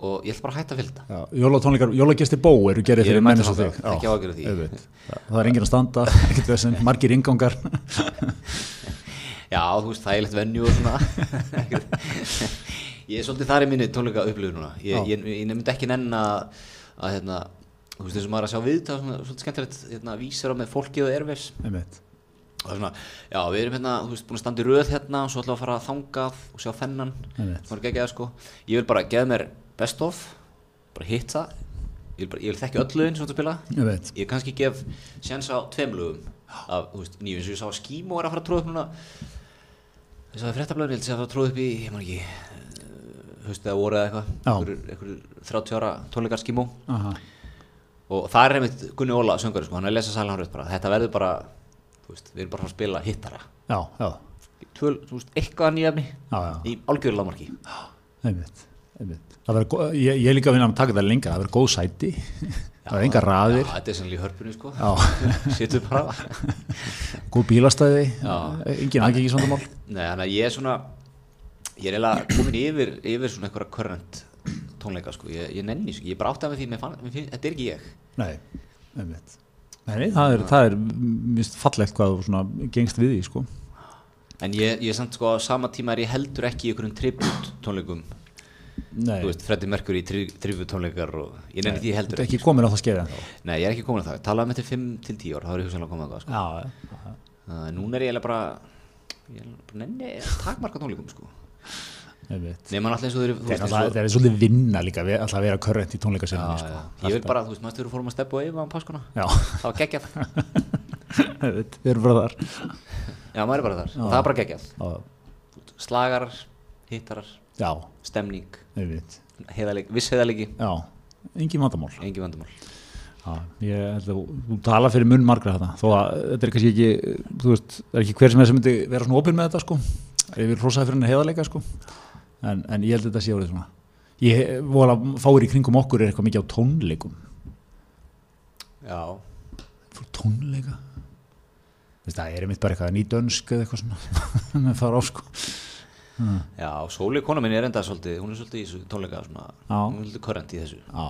Speaker 1: og ég ætla bara að hætta að fylgta
Speaker 2: Já, Jólatónleikar, jólagjesti bó eru gerðið
Speaker 1: Ég er
Speaker 2: fyrir
Speaker 1: mættur
Speaker 2: mennins og
Speaker 1: þangað,
Speaker 2: þig
Speaker 1: ekki
Speaker 2: Já,
Speaker 1: áhyggjur af því.
Speaker 2: auðvitað. Það það er enginn að standa, ekkert veginn, margir ingangar
Speaker 1: já, þú veist, þægilegt venju og svona ég er svolítið þar í minni tónleika upplifun núna ég,
Speaker 2: Já.
Speaker 1: ég, ég, ég myndi ekki nenn að að, hérna, þú veist þessum maður er að sjá viðtal svona, svolítið skemmtilegt, hérna, vísar á með fólkið og erfis
Speaker 2: einmitt
Speaker 1: og það er svona, já, við erum hérna, þú veist, búin að standa í röð hérna og svo ætlum við að fara að þangað og sjá þennan
Speaker 2: Einmitt.
Speaker 1: það er ekki sko ég vil bara gefa mér best of bara hitt það, ég vil, bara, ég vil þekki öll lögin sem þú spila,
Speaker 2: einmitt
Speaker 1: ég kannski gef séns á tveim lögum af, þú veist, nýjum eins og ég sá að Skímó er að fara að tróða upp núna þess að fréttablaður, ég held að fara að tróða upp í, ég man ekki eh, haustið að voru eða
Speaker 2: Já.
Speaker 1: eitthvað, einhverjur 30 ára tónleikar Skímó
Speaker 2: Aha.
Speaker 1: og það er einmitt Gunni Óla söngur sko, hann er að lesa sælan rödd bara þetta verður bara, þú veist, við erum bara að fara að spila hittara
Speaker 2: já, já,
Speaker 1: Tvöl, þú veist, eitthvað nýjafni
Speaker 2: já, já
Speaker 1: í algjörlamarki
Speaker 2: einmitt, einmitt. Það verður gó- ég, ég er líka að vinna að taka þetta lengra það verður góð sæti það verður engar
Speaker 1: já,
Speaker 2: raðir
Speaker 1: þetta er sannlega í hörpunni sko
Speaker 2: já.
Speaker 1: situr bara
Speaker 2: góð bílastæði
Speaker 1: Já.
Speaker 2: engin aðgengi svona mál
Speaker 1: Nei, þannig að ég er svona ég er eiginlega komin yfir, yfir svona einhverja current tónleika sko, ég, ég nenni sko, ég er bara áttað með því mér fann, mér finn, þetta er ekki ég
Speaker 2: nei, einmitt Nei, nei, það er, það er mist fallegt hvað þú svona gengst við því sko.
Speaker 1: en ég, ég er samt sko á sama tíma er ég heldur ekki í einhverjum tribut tónleikum
Speaker 2: Nei,
Speaker 1: þú veist, Freddy Mercury tri, tribut tónleikar og ég nenni því
Speaker 2: þú
Speaker 1: heldur sko.
Speaker 2: ert ekki komin á það skeiði ennþá.
Speaker 1: Nei, ég er ekki komin að það, um talaði með til 5 til 10 ár, þá er ég hugsanlega komin að það sko.
Speaker 2: Já, já,
Speaker 1: uh, Núna er ég eiginlega bara, ég er bara nenni takmarka tónleikum sko.
Speaker 2: einmitt.
Speaker 1: Nei, mann alltaf eins og þeir
Speaker 2: Það er, alltaf, það er svolítið vinna líka við alltaf að vera körrent í tónleikasinni
Speaker 1: Já,
Speaker 2: sko.
Speaker 1: já. Ég vil bara, þú veist, maður styrir fórum að steppa og eifa um páskona
Speaker 2: Já,
Speaker 1: Það var geggjað
Speaker 2: einmitt, við erum bara þar
Speaker 1: Já, maður er bara þar, það er bara geggjað
Speaker 2: Já,
Speaker 1: Slagarar, hittarar,
Speaker 2: Já,
Speaker 1: stemning,
Speaker 2: einmitt
Speaker 1: heiðaleg, viss heiðalegi,
Speaker 2: Já, engin vandamál
Speaker 1: engi vandamál
Speaker 2: Já, ég held að þú- þú tala fyrir munn margra þetta þó að þetta er kannski ekki þú veist, það er ekki hver sem er sem myndi vera svona opinn með þetta sko, ég vil hrósaði fyrir henni heiðarleika sko, en, en ég held að þetta sé orðið svona ég vola fáir í kringum okkur er eitthvað mikið á tónleikum
Speaker 1: Já,
Speaker 2: fór tónleika Þú veist, það er einmitt bara eitthvað nýdönsk eða eitthvað svona með fara á sko
Speaker 1: já, Sóli kona minni er enda svolítið, hún er svolítið í þessu tónleika svona,
Speaker 2: Já.
Speaker 1: hún er svolítið körrent í þessu
Speaker 2: Já,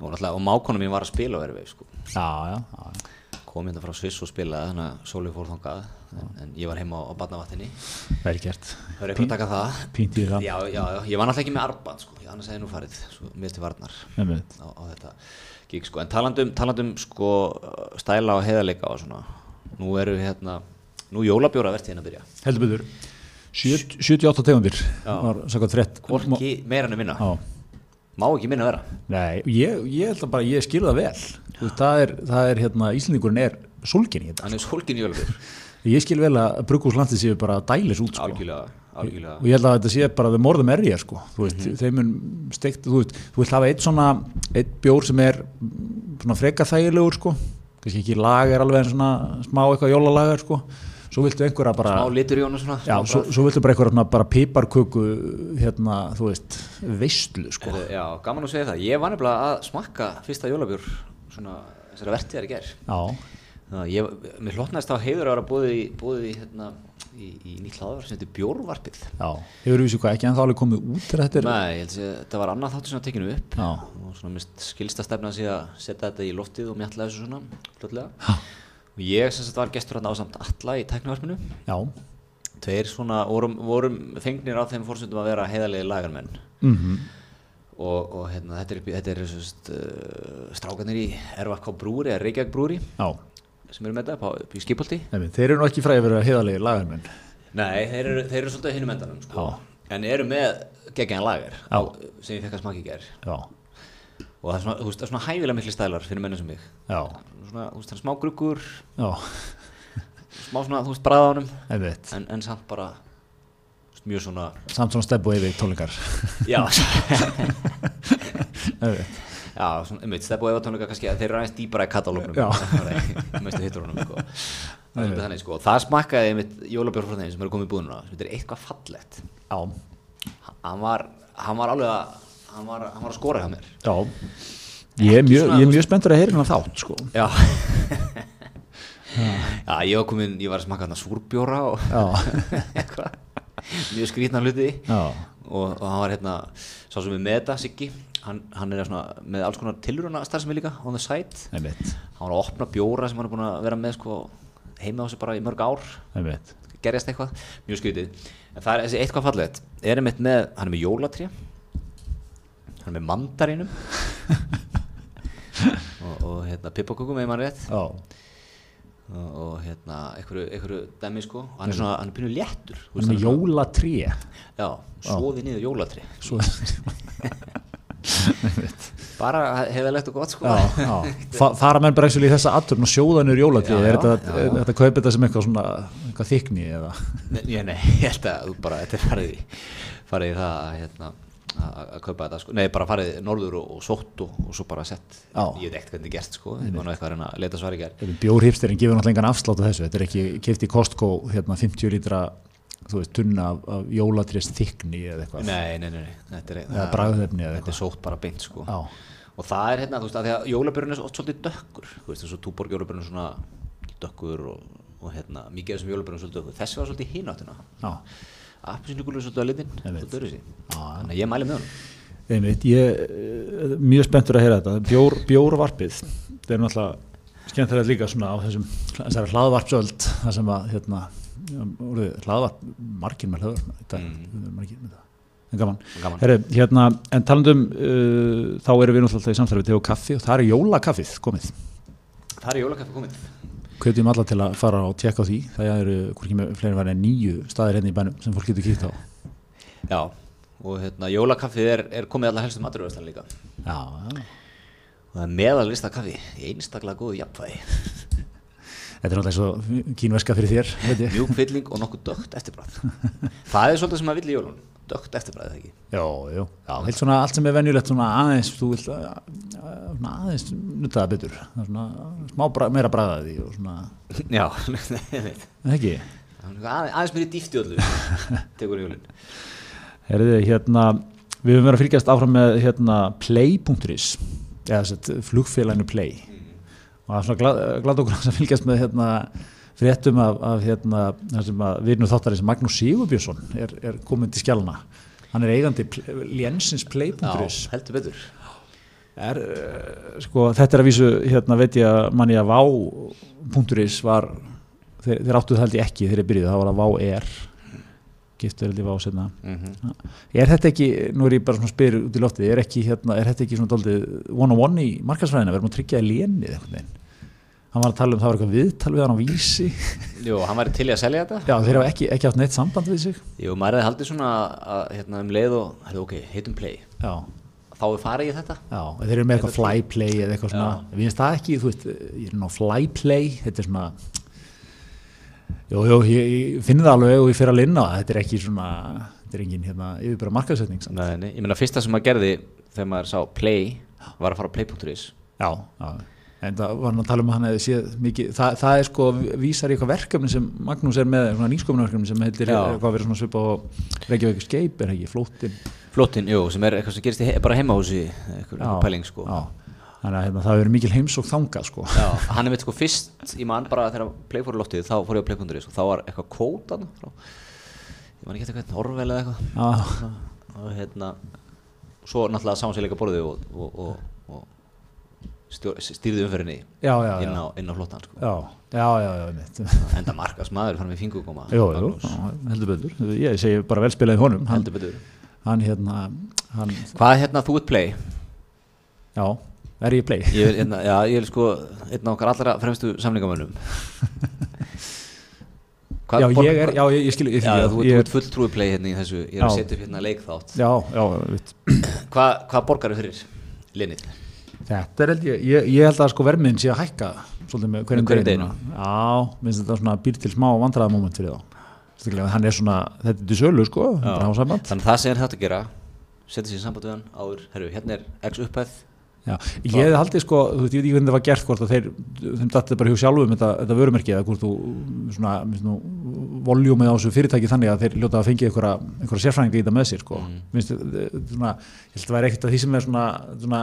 Speaker 1: Og, alltaf, og mákona mín var að spila á erfið, sko
Speaker 2: já, já, já.
Speaker 1: kom hérna frá Sviss og spilaði þannig að Sóli fór þangað en, en ég var heima á, á badnavatninni
Speaker 2: Vel gert.
Speaker 1: það er eitthvað að taka það
Speaker 2: Pínt í það.
Speaker 1: já, já, já, ég var náttúrulega ekki með arband sko, ég annars hefði nú farið svo, mér til varnar
Speaker 2: Einmitt.
Speaker 1: á, á þetta gig sko, en talandum, talandum sko uh, stæla og heiðarleika og svona nú eru hérna, nú jólabjóra verðt hérna að byrja
Speaker 2: Heldur byggður. 78 tegundir var sagt frétt.
Speaker 1: hvorki meira enn að minna,
Speaker 2: Já.
Speaker 1: má ekki minna vera
Speaker 2: Nei, ég, ég held að bara ég skilur það vel. Þú veist, það er, það er hérna, Íslendingurinn er sólgin í þetta.
Speaker 1: hann er sólgin jólabjór,
Speaker 2: Sko. Ég skil vel að brugghúslandið séu bara dælis út, sko.
Speaker 1: algjörlega algjörlega,
Speaker 2: Og ég held að þetta sé bara þeim orðum erja, sko. Þú veist,
Speaker 1: Mhm.
Speaker 2: þeim mun steikt, þú veist, þú vilt hafa eitt svona, eitt bjór sem er mm, svona freka þægilegur, sko. Kanski ekki lager alveg en svona smá eitthvað jólalager, sko. Svo viltu einhverja bara...
Speaker 1: smá litur í honum svona
Speaker 2: Já,
Speaker 1: smá
Speaker 2: svo, svo viltu bara eitthvað svona bara piparköku hérna, þú veist, veistlu sko.
Speaker 1: Heyrðu, Eh, Já, gaman að segja það. Ég var nefnilega að smakka fyrsta jólabjór svona þessara vertiðar í gerð.
Speaker 2: Já,
Speaker 1: Ég, mér hlotnaðist á heiður að vera búið í, búið í, hérna, í, í nýtt hlaðvar sem heitir Bjórvarpið.
Speaker 2: já, hefur við sér hvað ekki en þá alveg komið út þegar þetta er
Speaker 1: Nei, ég held að þetta var annað þáttur sem var tekinu upp
Speaker 2: Já.
Speaker 1: og svona mist skilsta stefna sig að setja þetta í loftið og mjalla þessu svona flotlega. Og ég sem sagt var gestur hann ásamt alla í tæknivarpinu.
Speaker 2: Já,
Speaker 1: Tveir svona vorum, vorum fengnir á þeim fórsöndum að vera heiðarlegi lagarmenn.
Speaker 2: mm
Speaker 1: og, og hérna, þetta er, upp í- þetta er svist, uh, strákanir í RVK brúri eða Reykjavík brúri
Speaker 2: já,
Speaker 1: sem eru með þetta upp, á- upp í skipolti
Speaker 2: nefnir, þeir eru nú ekki fræði að vera heiðalegi lagarmenn
Speaker 1: Nei, þeir eru, þeir eru svolítið hinum endanum sko.
Speaker 2: Já.
Speaker 1: en eru með geggjæðan lager
Speaker 2: Já.
Speaker 1: á- sem ég fekk að smaka í ger
Speaker 2: Já,
Speaker 1: og það er svona, þú veist, það er svona hæfilega miklu stælar fyrir mennum sem mig
Speaker 2: já,
Speaker 1: svona, þú veist, það er smá gruggur
Speaker 2: já,
Speaker 1: smá svona, þú veist, bræðanum
Speaker 2: einmitt
Speaker 1: en, en samt bara þú veist, mjög svona
Speaker 2: Samt svona stebbu yfir tónleikar
Speaker 1: já,
Speaker 2: Einmitt,
Speaker 1: já svona, einmitt, stefn og efatónleika kannski að þeir eru aðeins dýbara í katalógnum
Speaker 2: Já.
Speaker 1: mestu hitturunum sko. það, er svolítið þannig, sko. það smakkaði einmitt jólabjörn frá þeim sem eru komið í búðuna sem þetta er eitthvað fallett
Speaker 2: Já,
Speaker 1: hann var, hann var alveg að hann var, hann var að skora hjá mér
Speaker 2: já Ég er mjög,
Speaker 1: svona,
Speaker 2: ég er mjög spenntur að heyra hérna þátt sko.
Speaker 1: já já, ég var komin, ég var að smakka þarna súrbjóra og
Speaker 2: Já,
Speaker 1: eitthvað mjög skrýtna hluti
Speaker 2: já,
Speaker 1: og, og hann var hérna sá sem er með þetta, Siggi hann, hann er svona, með alls konar tilruna starfsemi líka on the side
Speaker 2: einmitt,
Speaker 1: hann var að opna bjóra sem hann er búin að vera með sko, heima á sig bara í mörg ár
Speaker 2: einmitt
Speaker 1: gerjast eitthvað, mjög skrítið en það er þessi eitthvað fallegt er einmitt með, hann er með jólatrí hann er með mandarínum og hérna, pippakökum ef maður rétt
Speaker 2: Já,
Speaker 1: og, og hérna, einhverju, einhverju dæmi sko, og hann er svona, hann er pínu léttur þú veist,
Speaker 2: hann er
Speaker 1: svona-
Speaker 2: jólatré
Speaker 1: Já, svoði niður jólatri
Speaker 2: Svo
Speaker 1: bara heiðalegt og gott sko
Speaker 2: Já, já. Fa- fara menn bara ekki í þessa aðturn og sjóða niður jólatré
Speaker 1: Já,
Speaker 2: er
Speaker 1: já,
Speaker 2: þetta, er þetta kaupið þetta sem eitthvað svona eitthvað þykni eða
Speaker 1: Nei, ég- nei, ég held að þú bara, þetta er farið í, farið í það að, hérna, að að kaupa þetta sko, nei bara farið norður og, og sótt og, og svo bara sett,
Speaker 2: Já.
Speaker 1: ég veit ekkert hvernig gert sko, ég var nú eitthvað að reyna að leita svar í gær.
Speaker 2: bjórhipsterinn gefur náttúrulega engan afslátt á þessu, þetta er ekki keift í Costco hérna 50 lítra þú veist, tunna af, af jólatrés þykni eða eitthvað
Speaker 1: Nei, nei, nei, nei, þetta er,
Speaker 2: Eða bragðefni eða
Speaker 1: þetta er sótt bara beint sko.
Speaker 2: Já.
Speaker 1: Og það er hérna, þú veist, að því að jólabjörn er svo- oft svolítið dökkur, þú veist, þessu túborg jólabjörn er svona dökkur og, og hérna, mikið af þessum jólabjörn er svolítið dökkur, þessi var svolítið hináttina.
Speaker 2: Já.
Speaker 1: Appelsínugulur er svolítið að litinn,
Speaker 2: Einmitt.
Speaker 1: svolítið öðru sig.
Speaker 2: Já, já.
Speaker 1: Þannig að ég mæli með honum.
Speaker 2: Einmitt, ég eh, er mjög spenntur að heyra þetta Bjór, bjórvarpið það er náttúrulega skemmtilegt líka svona á þessum þessari hlaðvarpsöld það sem að hérna, orðið, hlaðvarp margir með hlaðvarp í dag, mm. margir með það en gaman,
Speaker 1: Gaman.
Speaker 2: Herri, hérna, en talandum uh, þá erum við náttúrulega alltaf í samstarfi teg og kaffi og það er jólakaffið komið
Speaker 1: Það er jólakaffi komið.
Speaker 2: hvetjum alla til að fara og tjekka á því það eru hvorki með fleiri varna nýju staðir hérna í bænum sem fólk getur kýtt á
Speaker 1: Já, og hérna, jólakaffið er, er komið allar helstu maturvöðslan líka.
Speaker 2: já, já
Speaker 1: Og það er meðalista kaffi, einstaklega góðu jafnvægi,
Speaker 2: Þetta er náttúrulega eins og kínverska fyrir þér veit ég.
Speaker 1: mjúk fylling og nokkuð dögt eftirbræð. það er svolítið sem maður vill í jólun, dögt eftirbræð, ekki?
Speaker 2: Já, já, já, vilt svona allt sem er venjulegt svona aðeins, þú vilt uh, svona aðeins nutta það betur, Það er svona smá bra, meira bragða því og svona,
Speaker 1: Já, ég veit.
Speaker 2: en ekki,
Speaker 1: Það er svona aðe- aðeins mér í dýfti öllu, tekur jólun.
Speaker 2: herriði, hérna, við höfum verið að fylgjast áfram með hérna play.is, eða sett flugfélaginu play og það er svona glad, glad okkur að fylgjast með hérna fréttum af, af hérna, það sem að virnu þáttarins Magnús Sigurbjörnsson er, er komin til skjálna, hann er eigandi Pl- Jensins play.is.
Speaker 1: Já, heldur betur.
Speaker 2: er, eh, sko, þetta er að vísu hérna veit ég að manni að vá.is var þeir, þeir áttu það held ég ekki þegar ég byrjuði, það var að vá er giftu held ég vá setna
Speaker 1: Mm
Speaker 2: er þetta ekki, nú er ég bara svona að spyr út í loftið, er, ekki, hérna, er þetta ekki svona daldið one on one í markarsfræðina, verðum að tryggja í lénið einhvern veginn hann var að tala um það var eitthvað viðtal við hann á vísi
Speaker 1: Jú, hann væri til í að selja þetta.
Speaker 2: já þeir hafa ekki, ekki átt neitt samband við sig
Speaker 1: Jú, maður hefði haldið svona að, hérna, um leið og, hérna, ok, heitum play.
Speaker 2: já,
Speaker 1: Þá er farið í þetta.
Speaker 2: já þeir eru með eitthvað flyplay eða eitthvað svona, við finnst það ekki þú veist, ég er ná flyplay þetta er svona jú, jú, ég, ég finn það alveg og ég fer að linna þetta er ekki svona, þetta er engin hérna, yfirbæra markaðsetning samt.
Speaker 1: Nei, nei, ég meina fyrsta sem maður gerði þegar maður sá play var að fara á play.is
Speaker 2: já, já, en það var hann að tala um að hann hefði séð mikið, það, það er sko vísar í eitthvað verkefni sem Magnús er með svona nýsköpunarverkefni sem heitir
Speaker 1: Já.
Speaker 2: hvað verið svona svipa á Reykjavík Escape er það ekki, flóttin
Speaker 1: Flottin, jú, sem er eitthvað sem gerist í he bara heimahúsi eitthvað
Speaker 2: Já,
Speaker 1: einhver pæling, sko
Speaker 2: já. þannig að hérna, það hefur verið mikil heims og þanga sko
Speaker 1: Já, hann er mitt sko fyrst í mann bara þegar play fór í loftið, þá fór ég á play.is og þá var eitthvað kóta frá, ég man ekki eftir hvernig orvel eða eitthvað
Speaker 2: Já.
Speaker 1: og hérna svo náttúrulega sá hann sér líka borðið og, og, og, og stjór, stýrði umferðinni
Speaker 2: já, já, já,
Speaker 1: inn á, inn á flottan, sko
Speaker 2: já, já, já, já, einmitt.
Speaker 1: enda markas maður fann við fingurkoma
Speaker 2: Jó, jó,
Speaker 1: Magnús.
Speaker 2: já, heldur betur ég segi bara velspilaði honum hann,
Speaker 1: heldur betur
Speaker 2: hann hérna hann,
Speaker 1: Hvað hérna þú ert play?
Speaker 2: já, er ég play
Speaker 1: Ég vil, hérna, já, ég vil sko einn af okkar allra fremstu samningamönnum
Speaker 2: já, ég er, já, ég, ég skil ég,
Speaker 1: já, þú,
Speaker 2: ég,
Speaker 1: ég... þú ert fulltrúi play hérna í þessu Ég er að
Speaker 2: Já.
Speaker 1: setja upp hérna leikþátt
Speaker 2: já, já, veit
Speaker 1: Hvað hva borgar þau fyrir linið?
Speaker 2: þetta er held ég, ég, ég held að sko vermiðin sé að hækka svolítið með hverjum
Speaker 1: Með hverjum
Speaker 2: deginum. já, minnst þetta svona býr til smá vandræðamóment fyrir þá Sérstaklega, hann er svona, þetta er til sölu sko bara á samband.
Speaker 1: Þannig að það sem er þetta að gera setja sér í samband við hann áður Herru, hérna er x upphæð
Speaker 2: Já, ég hefði haldið sko, þú veit, ég veit ekki hvernig það var gert hvort að þeir, þeim dætti bara hjá sjálfum þetta, þetta vörumerki eða hvort þú svona, minnst nú, voljúmið á þessu fyrirtæki þannig að þeir ljóta að fengi einhverja, einhverja sérfræðinga í þetta með sér sko,
Speaker 1: Mm.
Speaker 2: minnst þið, þið- svona, ég held að það væri ekkert að því sem er svona, svona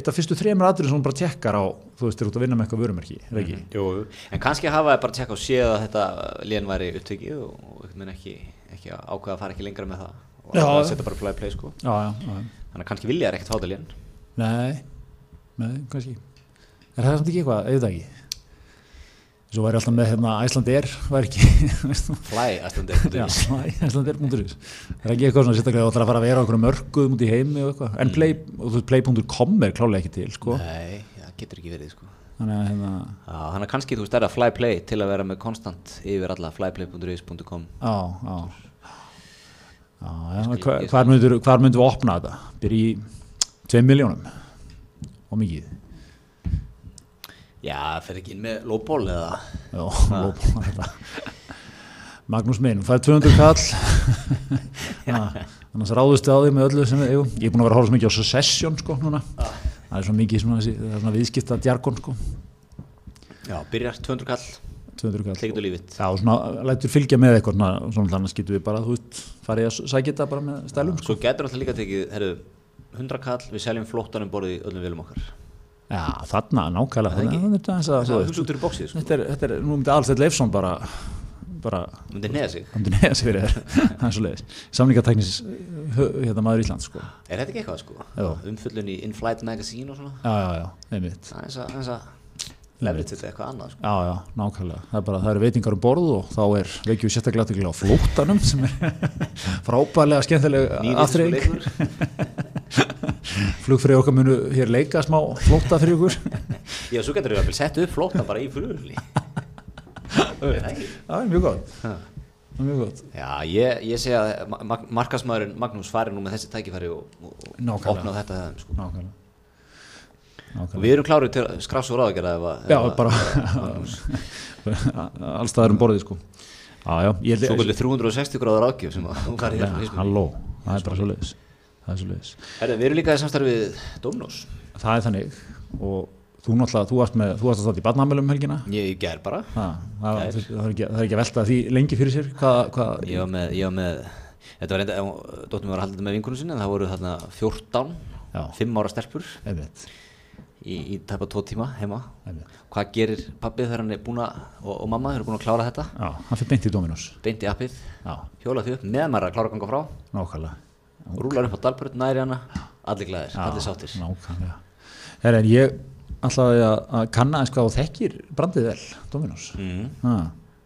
Speaker 2: eitt af fyrstu þremur aðurinn sem hún bara tekkar á, þú veist, þeir út að vinna með eitthvað vörumerki, eða ekki?
Speaker 1: Mm-hmm. Jú. En kannski hafa þau bara að tjekka og séð að þetta uh, lin væri upptekið og, og einhvern veginn ekki, ekki að ákveða að fara ekki lengra með það og
Speaker 2: Já.
Speaker 1: að setja bara play play sko
Speaker 2: Já, já, já.
Speaker 1: Þannig að kannski vilja þær ekkert fá þetta lin
Speaker 2: Nei, nei, kannski Er það samt ekki eitthvað, auðvitað ekki? Svo væri alltaf með hérna Æslandir, væri ekki, veist þú?
Speaker 1: Fly, aðstöndir
Speaker 2: Já, Icelandair.is Það er ekki eitthvað svona sérstaklega að það er að fara að vera á einhverjum mörguðum út í heimi og eitthvað en play, og þú veist, play.com er klálega ekki til sko.
Speaker 1: Nei, það getur ekki verið sko.
Speaker 2: þannig að hérna,
Speaker 1: Já, þannig að kannski þú veist er að flyplay til að vera með konstant yfir alla flyplay.is.com
Speaker 2: á, á á, hérna, hva, hvar myndur hvar myndur við opna þetta? Byrja í 2 miljónum og mikið
Speaker 1: Já, fer ekki inn með lóból eða
Speaker 2: Já, lópa þetta Magnús minn, það er 200 kall Ha, annars ráðustu á því með öllu sem við eigum ég er búin að vera að horfa svo mikið á Succession sko núna það er svo mikið svona, þessi- það er svona viðskipta djarkon sko,
Speaker 1: Já, byrjar 200 kall,
Speaker 2: 200 kall
Speaker 1: tekur þú lífið
Speaker 2: Já, svona lætur fylgja með eitthvað svona, svona þannig að skýtu við bara, þú veist, farið að sækja þetta bara með stælum sko.
Speaker 1: Svo getur alltaf líka tekið, herru, 100 kall, við seljum flóttanum borðið í öllum vilum okkar
Speaker 2: Já, þarna, nákvæmlega,
Speaker 1: Það er
Speaker 2: þannig
Speaker 1: ekki-
Speaker 2: að þetta aðeins að,
Speaker 1: Það
Speaker 2: þú
Speaker 1: er
Speaker 2: veist,
Speaker 1: hugsa út úr bóksið, sko,
Speaker 2: þetta er, þetta er, nú myndi alls þetta Leifsson bara, bara,
Speaker 1: myndi neða sig
Speaker 2: hann myndi neðast fyrir þér, það er svo leiðis, samlingatæknis, hérna maður Íslands, sko.
Speaker 1: Er þetta ekki eitthvað, sko?
Speaker 2: Já.
Speaker 1: Umfyllun í In-Flight Magazine og svona
Speaker 2: Já, já, já, einmitt,
Speaker 1: Það er eins að, eins að leverage þetta eitthvað annað, sko
Speaker 2: já, já, nákvæmlega, það er bara, það eru veitingar um borð og þá er, vekjum við sérstaklega athygli á flóttanum sem er frábærlega skemmtileg
Speaker 1: Nýr
Speaker 2: aðtreying.
Speaker 1: íslenskur leikur.
Speaker 2: Flugfrið okkar munu hér leika smá flótta fyrir ykkur.
Speaker 1: Já, svo getur við að setja upp flóttan bara í flugulni
Speaker 2: Það er mjög gott Það er mjög gott
Speaker 1: Já, ég, ég segi að mag markasmaðurinn Magnús fari nú með þessi tækifæri og, og
Speaker 2: Nákvæmlega.
Speaker 1: opna á þetta þeim, sko.
Speaker 2: Nákvæmlega
Speaker 1: og
Speaker 2: Nákvæmlega
Speaker 1: við erum klárið til að skrafs og ráðagjara ef að
Speaker 2: Já,
Speaker 1: ef að-
Speaker 2: bara
Speaker 1: Magnús.
Speaker 2: Alls staðar um borðið sko Já, já ég,
Speaker 1: svo kvöldu 360 gráður ágjöf sem að hún fari
Speaker 2: Já,
Speaker 1: hérna hérna.
Speaker 2: Halló, það er bara svo leiðis Það er svo leiðis
Speaker 1: Herðu, við erum líka í samstarfið Dómnós
Speaker 2: Það er þannig og þú náttúrulega, þú varst með, þú varst að staða í barnamælum helgina
Speaker 1: ég ger bara
Speaker 2: Ha, Það
Speaker 1: Gær.
Speaker 2: það er ekki það er ekki að velta því lengi fyrir sér hvað, hvað,
Speaker 1: ég var með, ég var með þetta var enda, dóttum var að halda þetta með vinkunum sinni en það voru þarna 14
Speaker 2: Já.
Speaker 1: 5 ára stelpur
Speaker 2: einmitt,
Speaker 1: í, í tæpa 2 tíma heima
Speaker 2: einmitt
Speaker 1: hvað gerir pappið þegar hann er búin að og, og mamma eru búin að klára þetta
Speaker 2: Já, hann fyrir beint í Dominos
Speaker 1: beint í appið,
Speaker 2: Já,
Speaker 1: hjóla því upp meðan maður er að klára að ganga frá
Speaker 2: nákvæmlega
Speaker 1: rúlar upp á dalbröð, næri hana allir glæðir,
Speaker 2: Já,
Speaker 1: allir sáttir
Speaker 2: nákvæmlega Herra, en ég ætlaði að að kanna eins hvað þú þekkir brandið vel Dominos
Speaker 1: mm.
Speaker 2: ha,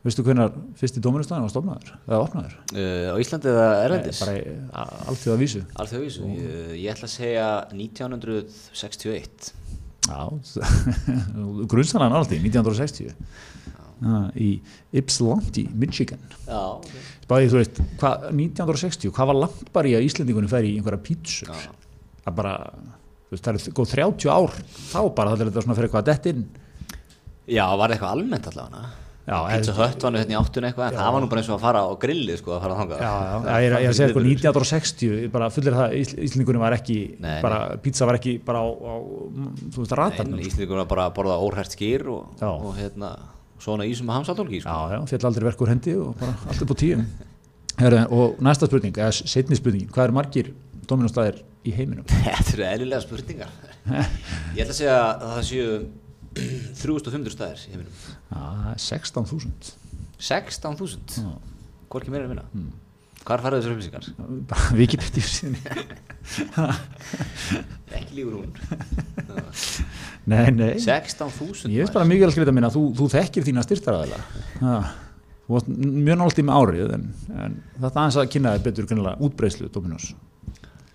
Speaker 2: veistu hvernig fyrsti Dominos-staðan var stofnaður eða opnaður
Speaker 1: uh, á Íslandi eða Erlendis
Speaker 2: bara í- a- allt í Eh, það vísu
Speaker 1: alþjóðvísu, ég, ég ætla að segja 1961
Speaker 2: já grunnstæðan allt í 1960 ha, í Ypsilanti, Michigan
Speaker 1: já, ok.
Speaker 2: Bæði, þú veist, hva, 1960, hvað var langt bara í að Íslendingunum fer í einhverja pítsur
Speaker 1: Já.
Speaker 2: að bara, þú veist, það er góð 30 ár þá bara, það er þetta svona fyrir eitthvað að detta inn
Speaker 1: já, var það eitthvað almennt allavega
Speaker 2: Já, eh,
Speaker 1: pizza hött var nú hérna í áttun eitthvað en það var nú bara eins og að fara á grillið sko að fara þangað
Speaker 2: Já, já,
Speaker 1: Það-
Speaker 2: ég er, ég er að segja sko,
Speaker 1: það-
Speaker 2: eitthvað 1960, ég bara fullir það Ísl- Íslendingunum var ekki,
Speaker 1: Nei, nei.
Speaker 2: bara pizza var ekki bara á, á mm, þú veist, ratarnum
Speaker 1: Nei,
Speaker 2: sko.
Speaker 1: Íslendingur var bara að borða óhært skýr og,
Speaker 2: Já.
Speaker 1: og hérna, svona ísum með hamsatólki
Speaker 2: Já,
Speaker 1: sko.
Speaker 2: já, fjall aldrei verk úr hendi og bara allt upp á tíum Heru, Og næsta spurning, eða setni spurningin, hvað eru margir dominostæðir í heiminum?
Speaker 1: þetta eru eðlilega spurningar ég ætla að segja að það séu 3500 staðir í heiminum
Speaker 2: Já, það er 16.000
Speaker 1: 16.000
Speaker 2: Já. Hmm.
Speaker 1: hvorki meira en minna hvar farið þessar upplýsingar?
Speaker 2: Bara Wikipedia síðan
Speaker 1: ekki lífur hún
Speaker 2: Nei, nei,
Speaker 1: 16.000
Speaker 2: ég veist
Speaker 1: maður.
Speaker 2: bara mjög vel skrita minna þú, þú þekkir þína styrtaraðala Þú varst mjög nált í með árið en, en þetta aðeins að kynna þér betur grunnilega útbreyslu Dominos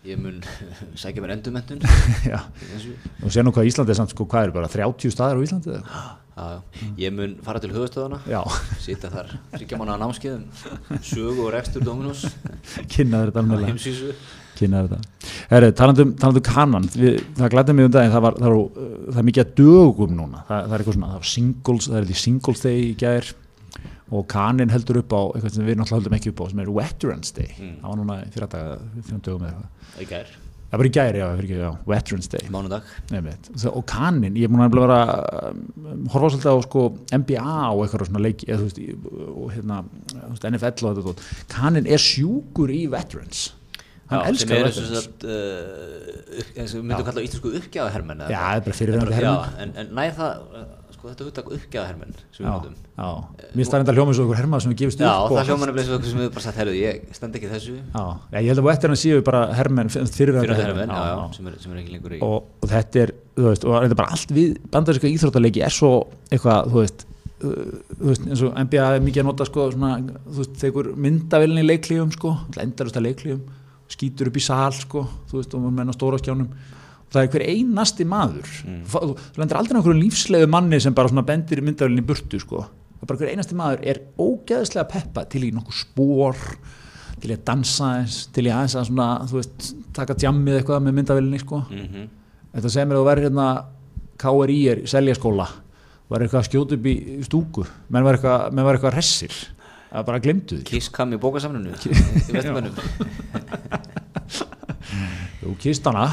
Speaker 1: ég mun sækja mér endurmentun
Speaker 2: Já,
Speaker 1: þessu
Speaker 2: og sé nú hvað Íslandi er samt sko, hvað er bara 30 staðar á Íslandi eða eitthvað?
Speaker 1: Já, já.
Speaker 2: Mm.
Speaker 1: Ég mun fara til höfustöðana,
Speaker 2: Já.
Speaker 1: sitja þar þryggja mánu á námskeiðum, sögu og rekstur Dominós,
Speaker 2: kynna þér
Speaker 1: á
Speaker 2: þetta alveg
Speaker 1: heimsísu.
Speaker 2: kynna þér þetta um- Herri, talandum, talandum kanan, við, það glæddi mig um daginn það, var, það, var, það er mikið að dögum núna það, það er eitthvað svona, það var singles það er því singles day í gær og kanin heldur upp á eitthvað sem við náttúrulega höldum ekki upp á sem er veterans day
Speaker 1: Mm.
Speaker 2: það var núna fyrir daga, fyrir dögum eða eitthvað
Speaker 1: Í gær,
Speaker 2: það var í gær, já, fyrir ekki, já, veterans day
Speaker 1: mánudag.
Speaker 2: Einmitt. Þa- og kannin, ég er múin að vera um, horfa svolítið á sko NBA og eitthvað svona leiki eða, þú veist, í- og hérna, þú veist, NFL og þetta tótt. kannin er sjúkur í veterans hann
Speaker 1: Já,
Speaker 2: elskar
Speaker 1: Sem
Speaker 2: veterans
Speaker 1: eru þess að, uh, eins og við myndum kalla á íslensku uppgjáðahermenn.
Speaker 2: Já, það er bara fyrirverandi hermenn.
Speaker 1: Já, en, en næði það, uh, sko þetta hugtak uppgjáðahermenn sem við
Speaker 2: já, sko,
Speaker 1: myndum.
Speaker 2: já. mér staðar enda hljóma svo okkur herma sem við gefist
Speaker 1: Já,
Speaker 2: upp
Speaker 1: það hljóman er bleið svo okkur sem við bara sagt, herru, ég stend ekki þessu,
Speaker 2: já, já, ég held að veterans séu bara hermenn fyrirverandi
Speaker 1: fyrir
Speaker 2: hermenn,
Speaker 1: já, já,
Speaker 2: já.
Speaker 1: sem er, sem er ekki lengur í.
Speaker 2: og, og þetta er, þú veist, og þetta er bara allt við bandaríska íþróttaleiki er svo eitthvað, þú veist, uh, þú veist eins og NBA er mikið að nota, sko, svona, þú veist, tegur myndavillinni í leiklífum, sko, lendarust að leiklífum, skýtur upp í sal, sko, þú veist, og menn á stóra skjánum, það er hver einasti maður
Speaker 1: Mm.
Speaker 2: Þú fa- þú þú lendir aldrei einhverjum lífslegu manni sem bara svona bendir myndavölinni í burtu sko. það er bara hver einasti maður er ógeðslega peppa til í nokkuð spór til í að dansa eins til í aðeins að svona, þú veist, taka djammið eitthvað með myndavélinni sko.
Speaker 1: mm -hmm.
Speaker 2: þetta sem er að þú verður hérna KRI er selja skóla var eitthvað að skjóta upp í stúku menn var eitthvað, menn var eitthvað hressir það bara glemdu því
Speaker 1: Kiss kam í bókasamnunu í Vestumönnum
Speaker 2: Jú, kýst hana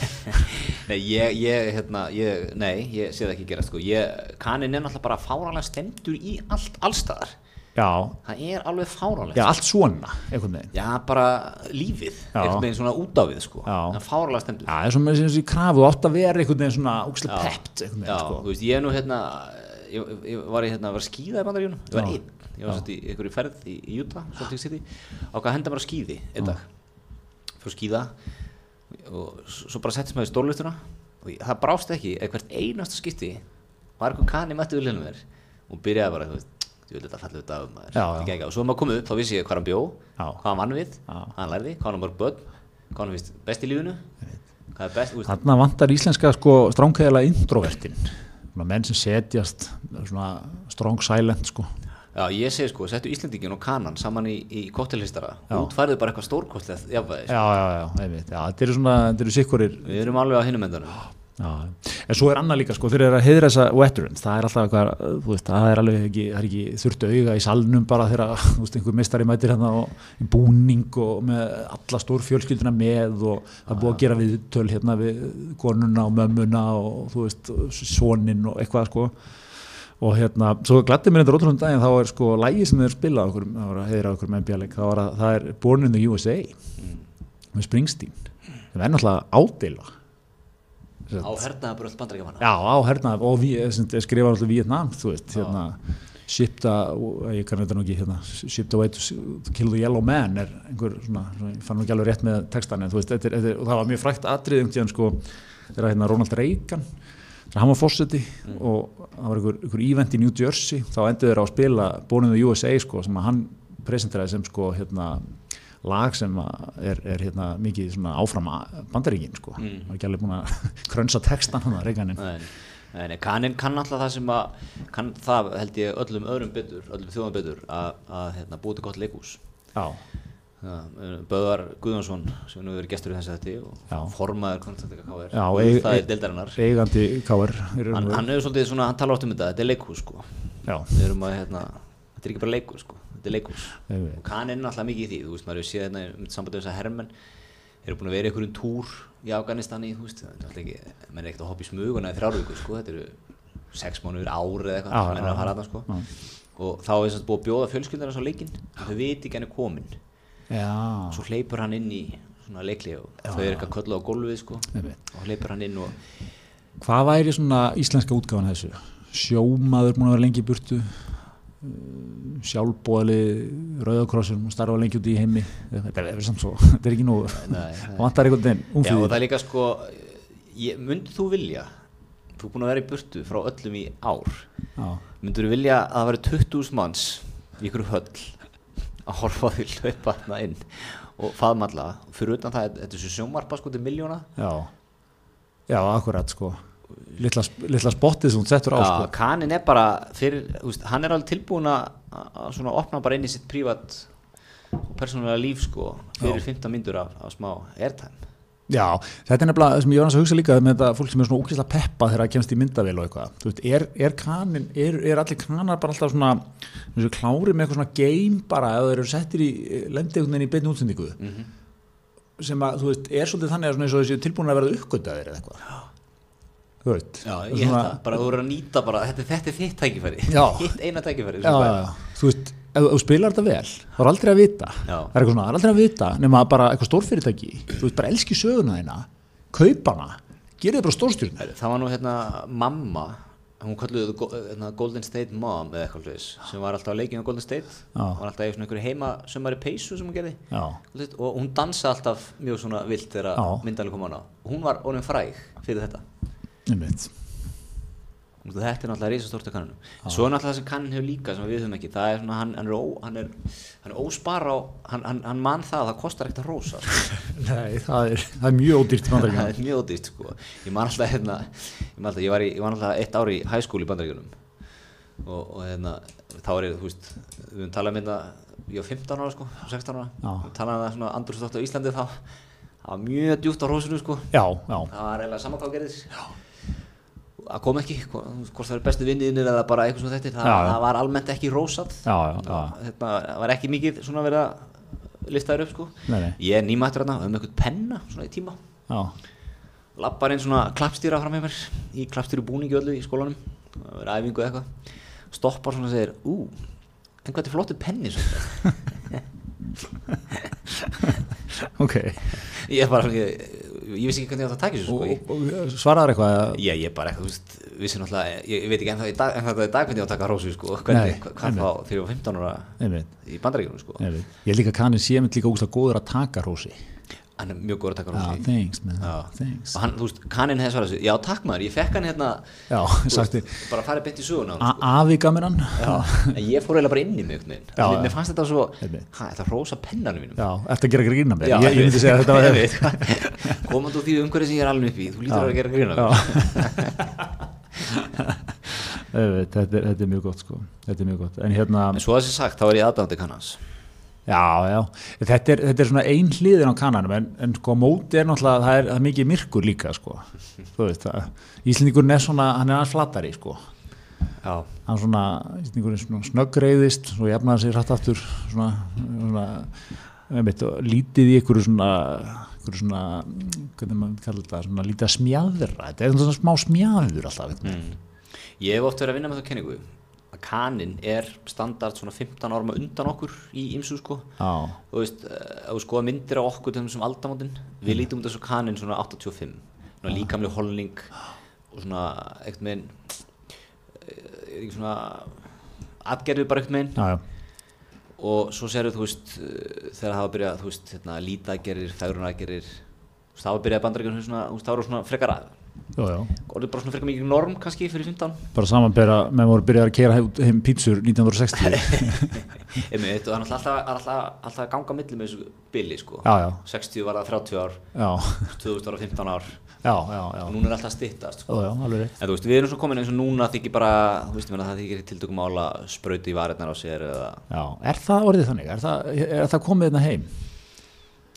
Speaker 1: Nei, ég, ég, hérna, ég, nei, ég sé það ekki gera sko ég, Kanin er náttúrulega bara fáralega stemtur í allt, allstaðar
Speaker 2: já,
Speaker 1: Það er alveg fáralega
Speaker 2: já, allt svona einhvern veginn
Speaker 1: Já, bara lífið,
Speaker 2: Já.
Speaker 1: einhvern veginn svona út á við sko
Speaker 2: Já.
Speaker 1: En fáralega stemtur
Speaker 2: Já, það er svona þessi krafu átt að vera einhvern veginn svona úkslega
Speaker 1: Já.
Speaker 2: pept einhvern
Speaker 1: Já,
Speaker 2: veginn, sko.
Speaker 1: þú veist, ég er nú hérna ég, ég var í hérna, var að skíða í bandaríunum ég var
Speaker 2: Já.
Speaker 1: einn, ég var svolítið í einhverju ferð í, í Utah, svolítið city ákvað að henda bara skíði einn dag fyrir að skíða og s- svo bara settist maður í stórlistuna og ég, það brást ekki að hvert einasta skipti var eitthvað kani mættið við linnum mér og byrjaði bara, þú veist ég vil þetta falla við dagum maður,
Speaker 2: Já,
Speaker 1: þetta
Speaker 2: já.
Speaker 1: gekk á. og svo er maður komið upp, þá vissi ég hvað hann bjó
Speaker 2: Já.
Speaker 1: hvað hann vann við,
Speaker 2: Já.
Speaker 1: hvað hann lærði hvað hann var börn, hvað hann finnst best í lífinu hvað er best, þú
Speaker 2: sko.
Speaker 1: veist,
Speaker 2: Þarna vantar íslenska sko stránkæðilega introvertin svona menn sem setjast svona strong silent sko
Speaker 1: Já, ég segi sko, settu Íslendingin og Kanan saman í, í koktelhistara
Speaker 2: Já.
Speaker 1: útfærðu bara eitthvað stórkostlegt jafnvæðis.
Speaker 2: Já, já, já, einmitt, já, þetta eru svona, þetta eru sikkurir
Speaker 1: Við erum alveg á hinum
Speaker 2: Ah,
Speaker 1: endanum.
Speaker 2: Já, en svo er annað líka sko þegar þeir eru að heiðra þessa veterans, það er alltaf eitthvað, þú veist, það er alveg ekki, það er ekki þurft auga í salnum bara þegar, þú veist, einhver mistari mætir hérna og í búning og með alla stór fjölskylduna með og það er búið að gera við töl hérna við konuna og mömmuna og þú veist, sonin og eitthvað sko og hérna, svo gladdi mér þetta rótur um daginn þá er sko lægi sem þeir spila á okkur, það var að heiðra okkur með NBA-leik, það, var að- það er Born in the USA með Springsteen, það er náttúrulega ádeila Sett.
Speaker 1: Á hernaða bara öll bandaríkjamanna.
Speaker 2: Já, á hérna, og við, sem er skrifað alltaf Vietnam, þú veist,
Speaker 1: Já.
Speaker 2: hérna shipped a, ég kann þetta nú ekki hérna, shipped away to s- to kill the yellow man er einhver svona, svona ég fann nú ekki alveg rétt með textan en þú veist, þetta, er- þetta, er- og það var mjög frækt atrið um tíðan sko, þegar hérna Ronald Reagan þegar hann var fórseti
Speaker 1: Mm.
Speaker 2: og það var einhver, einhver event í New Jersey þá endur þeir á að spila Born in the USA sko, sem að hann presenteraði sem sko hérna lag sem að er, er hérna mikið svona áfram bandaríkin sko,
Speaker 1: Mm.
Speaker 2: mm. var ekki alveg búin að krönsa textan hann að Reaganin
Speaker 1: Nei, nei, nei, Kanin kann alltaf það sem að, kann það held ég öllum öðrum betur, öllum þjóðum betur, að, að hérna, búið til gott leikús.
Speaker 2: Já,
Speaker 1: Já, eh, Böðvar Guðjónsson sem nú er gestur í þessu þetta
Speaker 2: Já.
Speaker 1: og formaður konstantika KR,
Speaker 2: Já,
Speaker 1: og
Speaker 2: eig-
Speaker 1: það
Speaker 2: eig-
Speaker 1: er deildarinnar.
Speaker 2: eigandi KR í raun
Speaker 1: Hann,
Speaker 2: og veru.
Speaker 1: hann hefur svolítið svona, hann tala oft um þetta, þetta er leikús sko.
Speaker 2: Já,
Speaker 1: Við erum að, hérna, þetta er ekki bara leikur sko, þetta er leikur.
Speaker 2: Einmitt.
Speaker 1: Og Kan er náttúrulega mikið í því, þú veist, maður hefur séð hérna um sambandi við þess að herrmenn, eru búin að vera í einhverjum túr í Afganistan í, þú veist, það er náttúrulega ekki, menn er ekkert að hoppa í smuguna í þrjárvíku sko, þetta eru sex mánuður ár eða eitthvað,
Speaker 2: Já,
Speaker 1: sem menn er
Speaker 2: já,
Speaker 1: að fara að það sko. Og þá er þess að búið að bjóða fjölskyldana svo leikinn, þau veit ekki hann er kominn.
Speaker 2: já,
Speaker 1: Svo hleypur hann inn í svona leikli og þau eru eitthvað kölluð á gólfið sko,
Speaker 2: einmitt.
Speaker 1: og hleypur hann inn og,
Speaker 2: Hvað væri svona íslenska útgáfan af þessu? Sjómaður múin að vera lengi í burtu, Eh, sjálfbóðali, rauðakrossum, starfa lengi út í heimi. Þetta er, þetta er samt svo, þetta er ekki nú,
Speaker 1: nei, nei.
Speaker 2: vantar einhvern veginn,
Speaker 1: Já og það
Speaker 2: umfýðir.
Speaker 1: er líka sko ég, Myndir þú vilja Þú er búin að vera í burtu frá öllum í ár
Speaker 2: Já,
Speaker 1: Myndir þú vilja að það væri 20.000 manns Í ykkur höll Að horfa á því hlaupa þarna inn Og faðmalla Fyrir utan það, þetta er svo sjónvarpa sko til miljóna
Speaker 2: já, já, akkurat sko. Littla, litla spottið sem hún settur á
Speaker 1: Já,
Speaker 2: sko.
Speaker 1: Kanin er bara fyrir, úst, Hann er alveg tilbúin að að svona opna bara inn í sitt prívat Og persónulega líf sko Fyrir 15 myndur af, af smá airtime
Speaker 2: Já, þetta er nefnilega það sem ég var aðeins að hugsa líka með þetta fólk sem er svona ókvæmst peppa þegar það kemst í myndavél og eitthvað. Þú veist, er, er kanin, er, er allir kanar bara alltaf svona, þessu klári með eitthvað svona game bara eða þeir eru settir í, lendi einhvern veginn í beinni útsendingu
Speaker 1: Mhm.
Speaker 2: sem að, þú veist, er svolítið þannig að svona eins og þessi tilbúin að verða uppgöndaðir eða eitthvað. Þú veist.
Speaker 1: Já, ég held það, bara þú eru að nýta bara, þetta, þetta er þitt tækifæri,
Speaker 2: Já.
Speaker 1: þitt eina tækifæri
Speaker 2: Já, já, já, þú veist, ef þú spilar þetta vel, þá er aldrei að vita,
Speaker 1: Já.
Speaker 2: það er eitthvað svona, það er aldrei að vita nema bara eitthvað stórfyrirtæki, þú veist, bara elski söguna þína, kaupa hana, gera þið bara stórstjórn.
Speaker 1: Það var nú hérna mamma, hún kalluði það go- hérna, Golden State Mom eða eitthvað hlutis sem var alltaf að leikja um Golden State
Speaker 2: Já.
Speaker 1: hún var alltaf í svona einhverju heima sömari peysu sem hún gerði
Speaker 2: Já,
Speaker 1: Svolítið, og hún dansaði alltaf mjög svona vilt þegar
Speaker 2: Já.
Speaker 1: myndanlega kom á hana hún var orðin fræg fyrir þetta Þú
Speaker 2: einmitt.
Speaker 1: veist, Þetta er náttúrulega risastórt á kannanum. En Svo er náttúrulega það sem kannan hefur líka sem við höfum ekki, það er svona, hann, hann, er, ó, hann, er, hann er óspar á, hann, hann, hann man það að það kostar ekkert að rósa. sko.
Speaker 2: Nei, það er, það er mjög ódýrt í
Speaker 1: það
Speaker 2: bandaríkjum
Speaker 1: er mjög ódýrt sko ég man alltaf hérna ég man alltaf, ég var, í, ég var alltaf eitt ár í high school í bandaríkjunum og, og hérna þá er ég, þú veist, við höfum talað um þetta ég var 15 ára sko, 16 ára
Speaker 2: Já.
Speaker 1: Við talaðum um það svona andrústátt á Íslandi þá það var mjög djúpt á rósinu sko
Speaker 2: Já, já,
Speaker 1: það var eiginlega saman hvað gerðis það kom ekki, hvo- hvort það eru bestu vinniðinir eða bara eitthvað svona þetta, það,
Speaker 2: Já, já.
Speaker 1: það var almennt ekki rósat
Speaker 2: já, já, já.
Speaker 1: þetta það var ekki mikið svona verið að lifta þér upp sko
Speaker 2: Nei, nei.
Speaker 1: ég er nýmættur hérna um eitthvað penna svona í tíma
Speaker 2: já.
Speaker 1: lappar einn svona klappstýra fram með mér í klappstýru búningi öllu í skólanum það verið æfingu eða eitthvað stoppar svona og segir, ú, en hvað þetta er flottu penni svona.
Speaker 2: Ok,
Speaker 1: ég er bara svona, ég, ég vissi ekki hvernig ég átt að taka þessu
Speaker 2: og,
Speaker 1: sko.
Speaker 2: og, og svaraðar eitthvað eða-
Speaker 1: ég, ég er bara eitthvað, þú veist, vissi náttúrulega ég, ég veit ekki en það, en það er dag hvernig ég átt að taka rósu sko, hvernig,
Speaker 2: Nei,
Speaker 1: Nei, hvað þá þegar ég var 15 ára
Speaker 2: Einmitt,
Speaker 1: í bandaríkjunum sko.
Speaker 2: einmitt. Ég held líka að kannin sé mitt líka úslega góður að taka rósi
Speaker 1: hann er mjög góður að taka
Speaker 2: Já,
Speaker 1: rósu
Speaker 2: thanks, man,
Speaker 1: Já.
Speaker 2: thanks
Speaker 1: og hann, þú veist, kaninn hefði svarað þessu já, takk maður, ég fekk hann hérna
Speaker 2: Já, Ah,
Speaker 1: þú
Speaker 2: sagt
Speaker 1: veist,
Speaker 2: þér
Speaker 1: bara farið beint í söguna á honum,
Speaker 2: A- Afi gaminan
Speaker 1: Já, en ég fór eiginlega bara inn í mig einhvern
Speaker 2: Já,
Speaker 1: veginn.
Speaker 2: já.
Speaker 1: Mér fannst þetta svo,
Speaker 2: Einmitt.
Speaker 1: hæ, þetta rosa pennanum mínum.
Speaker 2: Já, ertu að gera grína mér
Speaker 1: Já,
Speaker 2: Ég, ég myndi segja að þetta var
Speaker 1: veit hvað. Komandi úr því umhverju sem ég er alveg upp í, þú lítur að vera að gera grína
Speaker 2: Já.
Speaker 1: mér.
Speaker 2: Einmitt, þetta, er- þetta er mjög gott sko Þetta er mjög gott En hérna
Speaker 1: En svo að þessi sagt, þá er ég aðdándi kannans.
Speaker 2: Já, já, þetta er, þetta er svona ein hliðin á kananum en, en sko á móti er náttúrulega, það er, það er mikið myrkur líka sko, þú veist það, Íslendingurinn er svona, hann er aðeins flatari sko,
Speaker 1: Já.
Speaker 2: hann svona, Íslendingurinn svona snöggreiðist og jafnaði sér hratt aftur svona, svona einmitt, og lítið í einhverju svona, einhverju svona, hvernig maður kallar þetta, svona lítið að smjaðra, þetta er svona smá smjaður alltaf, mm.
Speaker 1: Ég hef oft verið að vinna með þá kenningu að kaninn er standard svona 15 árum undan okkur í ymsu sko.
Speaker 2: já,
Speaker 1: Þú veist, eh, ef þú skoða myndir á okkur til þessum aldamótin, við lítum út þessu kaninn svona 85, svona líkamleg holning og svona eitthvað meginn, eitthvað svona atgerfið bara eitthvað meginn
Speaker 2: já, já,
Speaker 1: og svo serðu þú veist eh, þegar hafa byrjað, þú veist, hérna, lítagerir, fegrunargerir, þú veist, hafa byrjað bandaríkjum svona, þú veist, þá eru svona frekar að,
Speaker 2: já, já,
Speaker 1: orðið bara svona frekar mikið norm kannski fyrir 15
Speaker 2: bara samanbera, menn voru byrjað að kera heim pítsur 1960,
Speaker 1: Einmitt, og það er náttúrulega alltaf, alltaf, alltaf að ganga á milli með þessu billi sko.
Speaker 2: já, já,
Speaker 1: 60 var það 30 ár
Speaker 2: já.
Speaker 1: 2000 var það 15 ár
Speaker 2: já, já, já,
Speaker 1: og núna er alltaf að styttast sko.
Speaker 2: já, já alveg rétt
Speaker 1: en þú veist, við erum svo komin eins og núna þykir bara þú veist, ég meina, það þykir tiltökum ála sprauti í varirnar á sér eða,
Speaker 2: já, er það orðið þannig, er það, er það komið hérna heim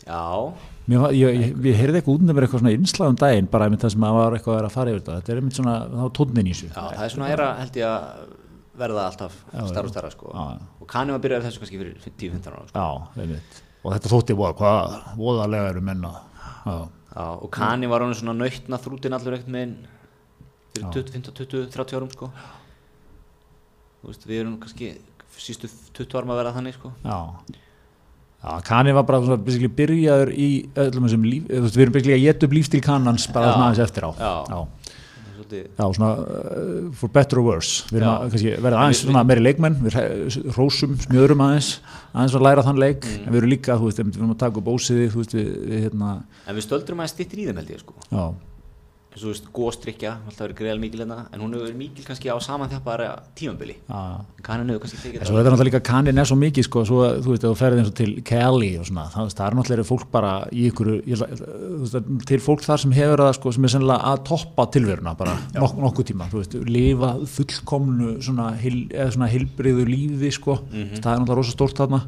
Speaker 1: já,
Speaker 2: Mér, var- ég, ég, ég heyrði eitthvað út um eitthvað svona innslag um daginn bara einmitt það sem að var eitthvað að vera að fara yfir þetta þetta er einmitt svona, þá tónnin í þessu
Speaker 1: já, það er svona er að held ég að verða alltaf starra og starra sko.
Speaker 2: Já, já.
Speaker 1: og kannum að byrja þessu kannski fyrir 10-15 ára sko.
Speaker 2: já, einmitt og þetta þótti búið, hvað, voðalega eru menna já,
Speaker 1: já, og kanni var hann svona nautna þrútin allur ekkert meginn fyrir 20, 15, 20, 30 árum sko. þú veist, við erum kannski sístu 20 árum að verða þannig sko.
Speaker 2: já já, kanni var bara svona, basically byrjaður í öllum þessum líf, þú veist, við erum basically að geta upp lífstíl kannans bara
Speaker 1: Já.
Speaker 2: svona aðeins eftir á
Speaker 1: Já.
Speaker 2: já,
Speaker 1: Það er svolítið
Speaker 2: já svona uh, for better or worse, við erum
Speaker 1: Já.
Speaker 2: að kannski, verða aðeins svona meiri leikmenn, við hre- rósum, smjöðurum aðeins aðeins að læra þann leik, en við erum líka þú veist, einmitt, við erum að taka upp ósiði, þú veist við, við hérna,
Speaker 1: En við stöldrum aðeins stittir í þeim held ég sko
Speaker 2: já,
Speaker 1: eins og þú veist, góðstrykja, alltaf verið greiðal mikil hérna en hún hefur verið mikil kannski á samanþjappara tímambili
Speaker 2: já
Speaker 1: kannan hefur kannski tekið
Speaker 2: en svo þetta er náttúrulega líka kanin er svo mikið sko, svo, að, þú veist, ef þú ferði eins og til Cali og svona, það, það er náttúrulega fólk bara í ykkur, ég, ætla- þú veist, það er til fólk þar sem hefur það, sko, sem er sennilega að toppa tilveruna bara nok nokkuð tíma, þú veist lifa fullkomnu svona, heil, eða svona heilbriðu lífi, sko
Speaker 1: Mhm.
Speaker 2: það er náttúrulega rosa stórt þarna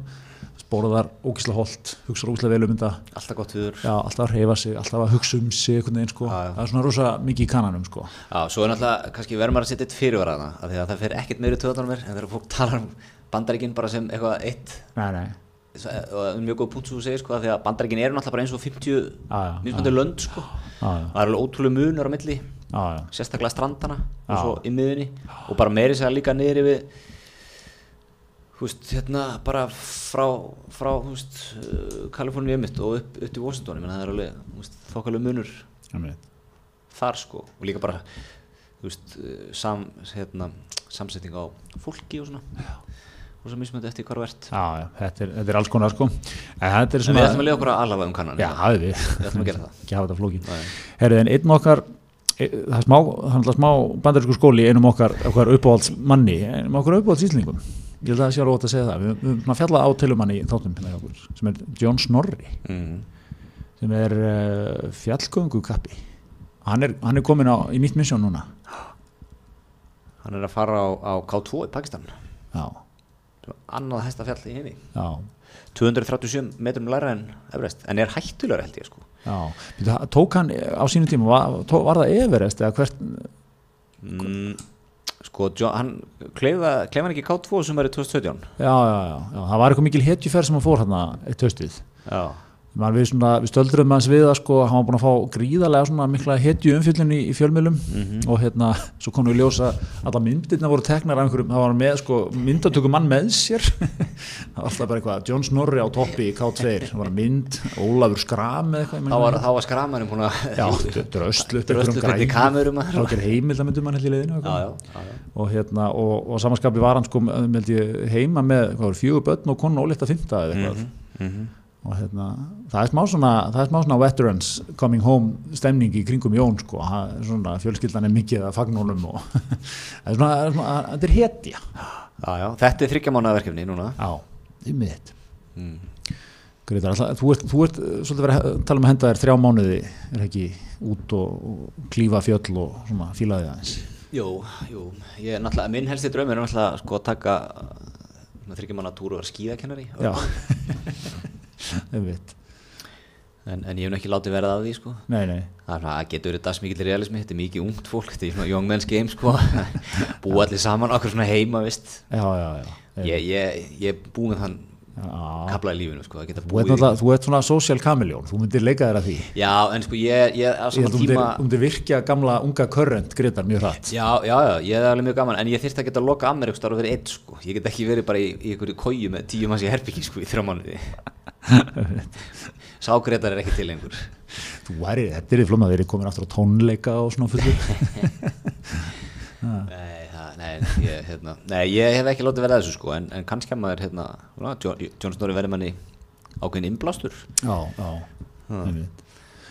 Speaker 2: borðar ógislega holt, hugsar ógislega vel um þetta
Speaker 1: alltaf gott viður
Speaker 2: Já, alltaf að reyfa sig, alltaf að hugsa um sig einhvern veginn sko,
Speaker 1: Já, já.
Speaker 2: það er svona rosa mikið í kananum sko.
Speaker 1: Já, svo er náttúrulega, kannski verður maður að setja eitt fyrirvaraðna af því að það fer ekkert meiri töðanum er en þegar fólk talar um bandaríkinn bara sem eitthvað eitt
Speaker 2: Nei, nei,
Speaker 1: svo- og um mjög góð punkt sem þú segir sko af því að bandaríkinn eru náttúrulega bara eins og 50
Speaker 2: já,
Speaker 1: mismöndi lönd sko
Speaker 2: já, já,
Speaker 1: það er alveg ótrúlega munur á milli
Speaker 2: já, já.
Speaker 1: sérstaklega strandana og
Speaker 2: Já.
Speaker 1: svo í miðunni og bara meiri sér líka niðri við húst, hérna bara frá, frá húst, Kaliforníu emitt og upp, upp til Washington, ég menna það er alveg húst, þokkalega munur
Speaker 2: einmitt.
Speaker 1: þar sko og líka bara húst, sam, hérna, samsetning á fólki og svona og svo mismöndi eftir hvar þú ert
Speaker 2: já, já þetta, er, þetta er alls konar sko. en þetta er
Speaker 1: en
Speaker 2: svona
Speaker 1: við ætlum að lega okkur að alava um kannan
Speaker 2: Já, hafið við
Speaker 1: Við ætlum að gera það.
Speaker 2: Ekki hafa þetta flókin Herðu, en einn okkar e, það er smá, það er alltaf smá bandarísku skóli í einum okkar, okkar uppáhalds manni einum okkar uppáhalds íslingum ég held að það sé alveg ótt að segja það, við við höfum svona fjallað á tölumanni í þáttum hérna hjá okkur, sem er John Snorri
Speaker 1: Mm.
Speaker 2: sem er uh, fjallgöngu kappi hann er, hann er komin á, í nýtt misjón núna
Speaker 1: Hann er að fara á, á K2 í Pakistan sem
Speaker 2: já,
Speaker 1: er annað hæsta fjall í heimi
Speaker 2: já,
Speaker 1: 237 metrum læra en Everest en er hættulegur held ég sko
Speaker 2: já Býtu, það- tók hann á sínu tíma var, tó- var það Everest eða hvert
Speaker 1: mm, sko, John, hann kleifa, kleifa hann ekki K2 sem er í 2017
Speaker 2: já, já, já, já, það var eitthvað mikil hetjuferð sem hann fór hann eitt höstuð
Speaker 1: já,
Speaker 2: Man, við, svona, við stöldrum hans við að sko, hann var búin að fá gríðarlega svona mikla hetju umfjöllin í, í fjölmjölum
Speaker 1: Mhm.
Speaker 2: og hérna, svo konum við ljósa alla myndirna voru teknar af einhverjum, það var hann með sko, myndatöku mann með sér það var alltaf bara eitthvað, John Snorri á toppi í K2, það var mynd Ólafur Skram eða eitthvað ég man
Speaker 1: þá var,
Speaker 2: ekki hvað.
Speaker 1: þá var skramarinn búin að
Speaker 2: Já, dröslu upp
Speaker 1: Dröslu upp
Speaker 2: einhverjum
Speaker 1: einhverjum kamerum að-
Speaker 2: þá gerir heimildamöndum hann held í leiðinu og
Speaker 1: já,
Speaker 2: eitthvað.
Speaker 1: já, já, já.
Speaker 2: og hérna, og, og samanskapi var hann sko, held ég, heima með hvað, voru, fjögur börn og konu ólétt að fynda eða eitthvað og hérna, það er smá svona það er smá svona veterans coming home stemning í kringum Jón sko Ha- svona, fjölskyldan er mikið að fagnónum og það er svona, það er svona þetta er hetja
Speaker 1: Já, já. þetta er þryggjamánaverkefni núna
Speaker 2: á, ymmið þitt Greitar, alltaf, þú ert, þú ert eh, svolítið verið að tala um að henda þér þrjá mánuði er ekki út og, og klífa fjöll og svona fíla þig aðeins
Speaker 1: Jú, jú, ég er náttúrulega, minn helsti draumur er náttúrulega sko að taka þryggjamána túr og vera skíðakennari
Speaker 2: já ymmið,
Speaker 1: en, en ég hef nú ekki látið verða að því sko
Speaker 2: nei nei
Speaker 1: Það er svona, það getur verið dagsmikið realismi, þetta er mikið ungt fólk, þetta er svona young men's game sko, búa allir saman okkur svona heima, veist.
Speaker 2: já, já, já,
Speaker 1: Ég, ég, ég búið með þann
Speaker 2: já.
Speaker 1: kabla í lífinu sko, að geta
Speaker 2: Þú, ert
Speaker 1: búið. í-
Speaker 2: náttúrulega- þú ert svona social kameljón þú myndir leika þér að því
Speaker 1: Já, en sko ég, ég á
Speaker 2: Ég
Speaker 1: saman
Speaker 2: held um
Speaker 1: tíma,
Speaker 2: þeir, um þeir virkja gamla unga körrend Gretar mjög hratt
Speaker 1: já, já, já, ég er alveg mjög gaman, en ég þyrst að geta að loka að mér eitthvað og verið einn sko, ég get ekki verið bara í, í einhverju kóju með tíu manns í herbyggi sko í þrjá mánuði. Ságreitar er ekki til lengur.
Speaker 2: Þú væri, þetta er því flum að þeir eru komin aftur á tónleika og svona fullur
Speaker 1: Nei, það, nei, ég, hérna, nei, ég hef ekki látið verið að þessu sko, en, en kannski að maður, hérna, svona, John, John Snorri verið manni ákveðin innblástur.
Speaker 2: Já, já einmitt.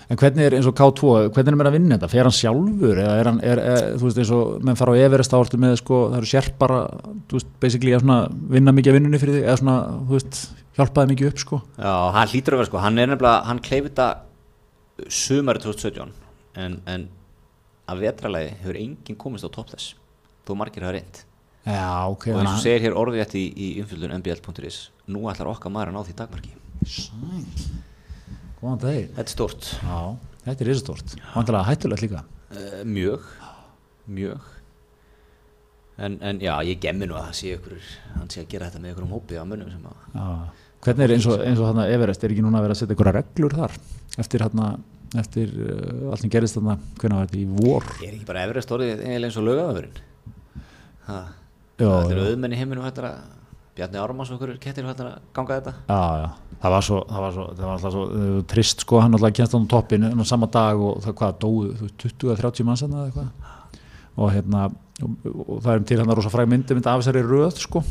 Speaker 2: En hvernig er eins og K2, hvernig er maður að vinna þetta? Fer hann sjálfur eða er hann, er, er, þú veist eins og menn fara á Everest þá ertu með sko, það eru sérpar að, þú veist, basically að svona vinna mikið að vinnunni fyrir þig eða svona, þú veist, hjálpaði mikið upp sko
Speaker 1: Já, hann hlýtur að vera sko, hann er nefnilega, hann kleif þetta sumari 2017, en, en að vetralagi hefur enginn komist á topp þess, þó margir hafa reynd.
Speaker 2: Já, ok,
Speaker 1: Og eins og
Speaker 2: þannig
Speaker 1: segir hér orðið í, í umfjöldun mbl.is, nú ætlar okkar maður að ná því dagmarki.
Speaker 2: að Sæl, góðan dagir
Speaker 1: Þetta er stórt.
Speaker 2: Já, þetta er risastórt, vantilega hættulegt líka
Speaker 1: Uh, mjög, mjög en, en já, ég gemmi nú að það sé ykkur hann sé að gera þetta með ykkur um hópi af mönnum sem að
Speaker 2: Já. Hvernig er eins og, eins og þarna Everest, er ekki núna að vera að setja einhverja reglur þar eftir hérna, eftir uh, allt sem gerist þarna, hvernig var þetta í vor?
Speaker 1: er ekki bara efrið stórið eiginlega eins og lögaförin það
Speaker 2: Já,
Speaker 1: er
Speaker 2: já.
Speaker 1: auðmenn í heiminum hættar að Bjarni Ármanns og ykkur kettir hættar að ganga þetta
Speaker 2: Já, já, það var svo, það var svo, það var alltaf svo uh, trist sko, hann alltaf kennst hann á toppin á sama dag og það hvað, dóu þú veist, 20 eða 30 manns hann eða eitthvað og hérna, og, og það er um til hann að rosa fræg myndi mynd af þessari röð sko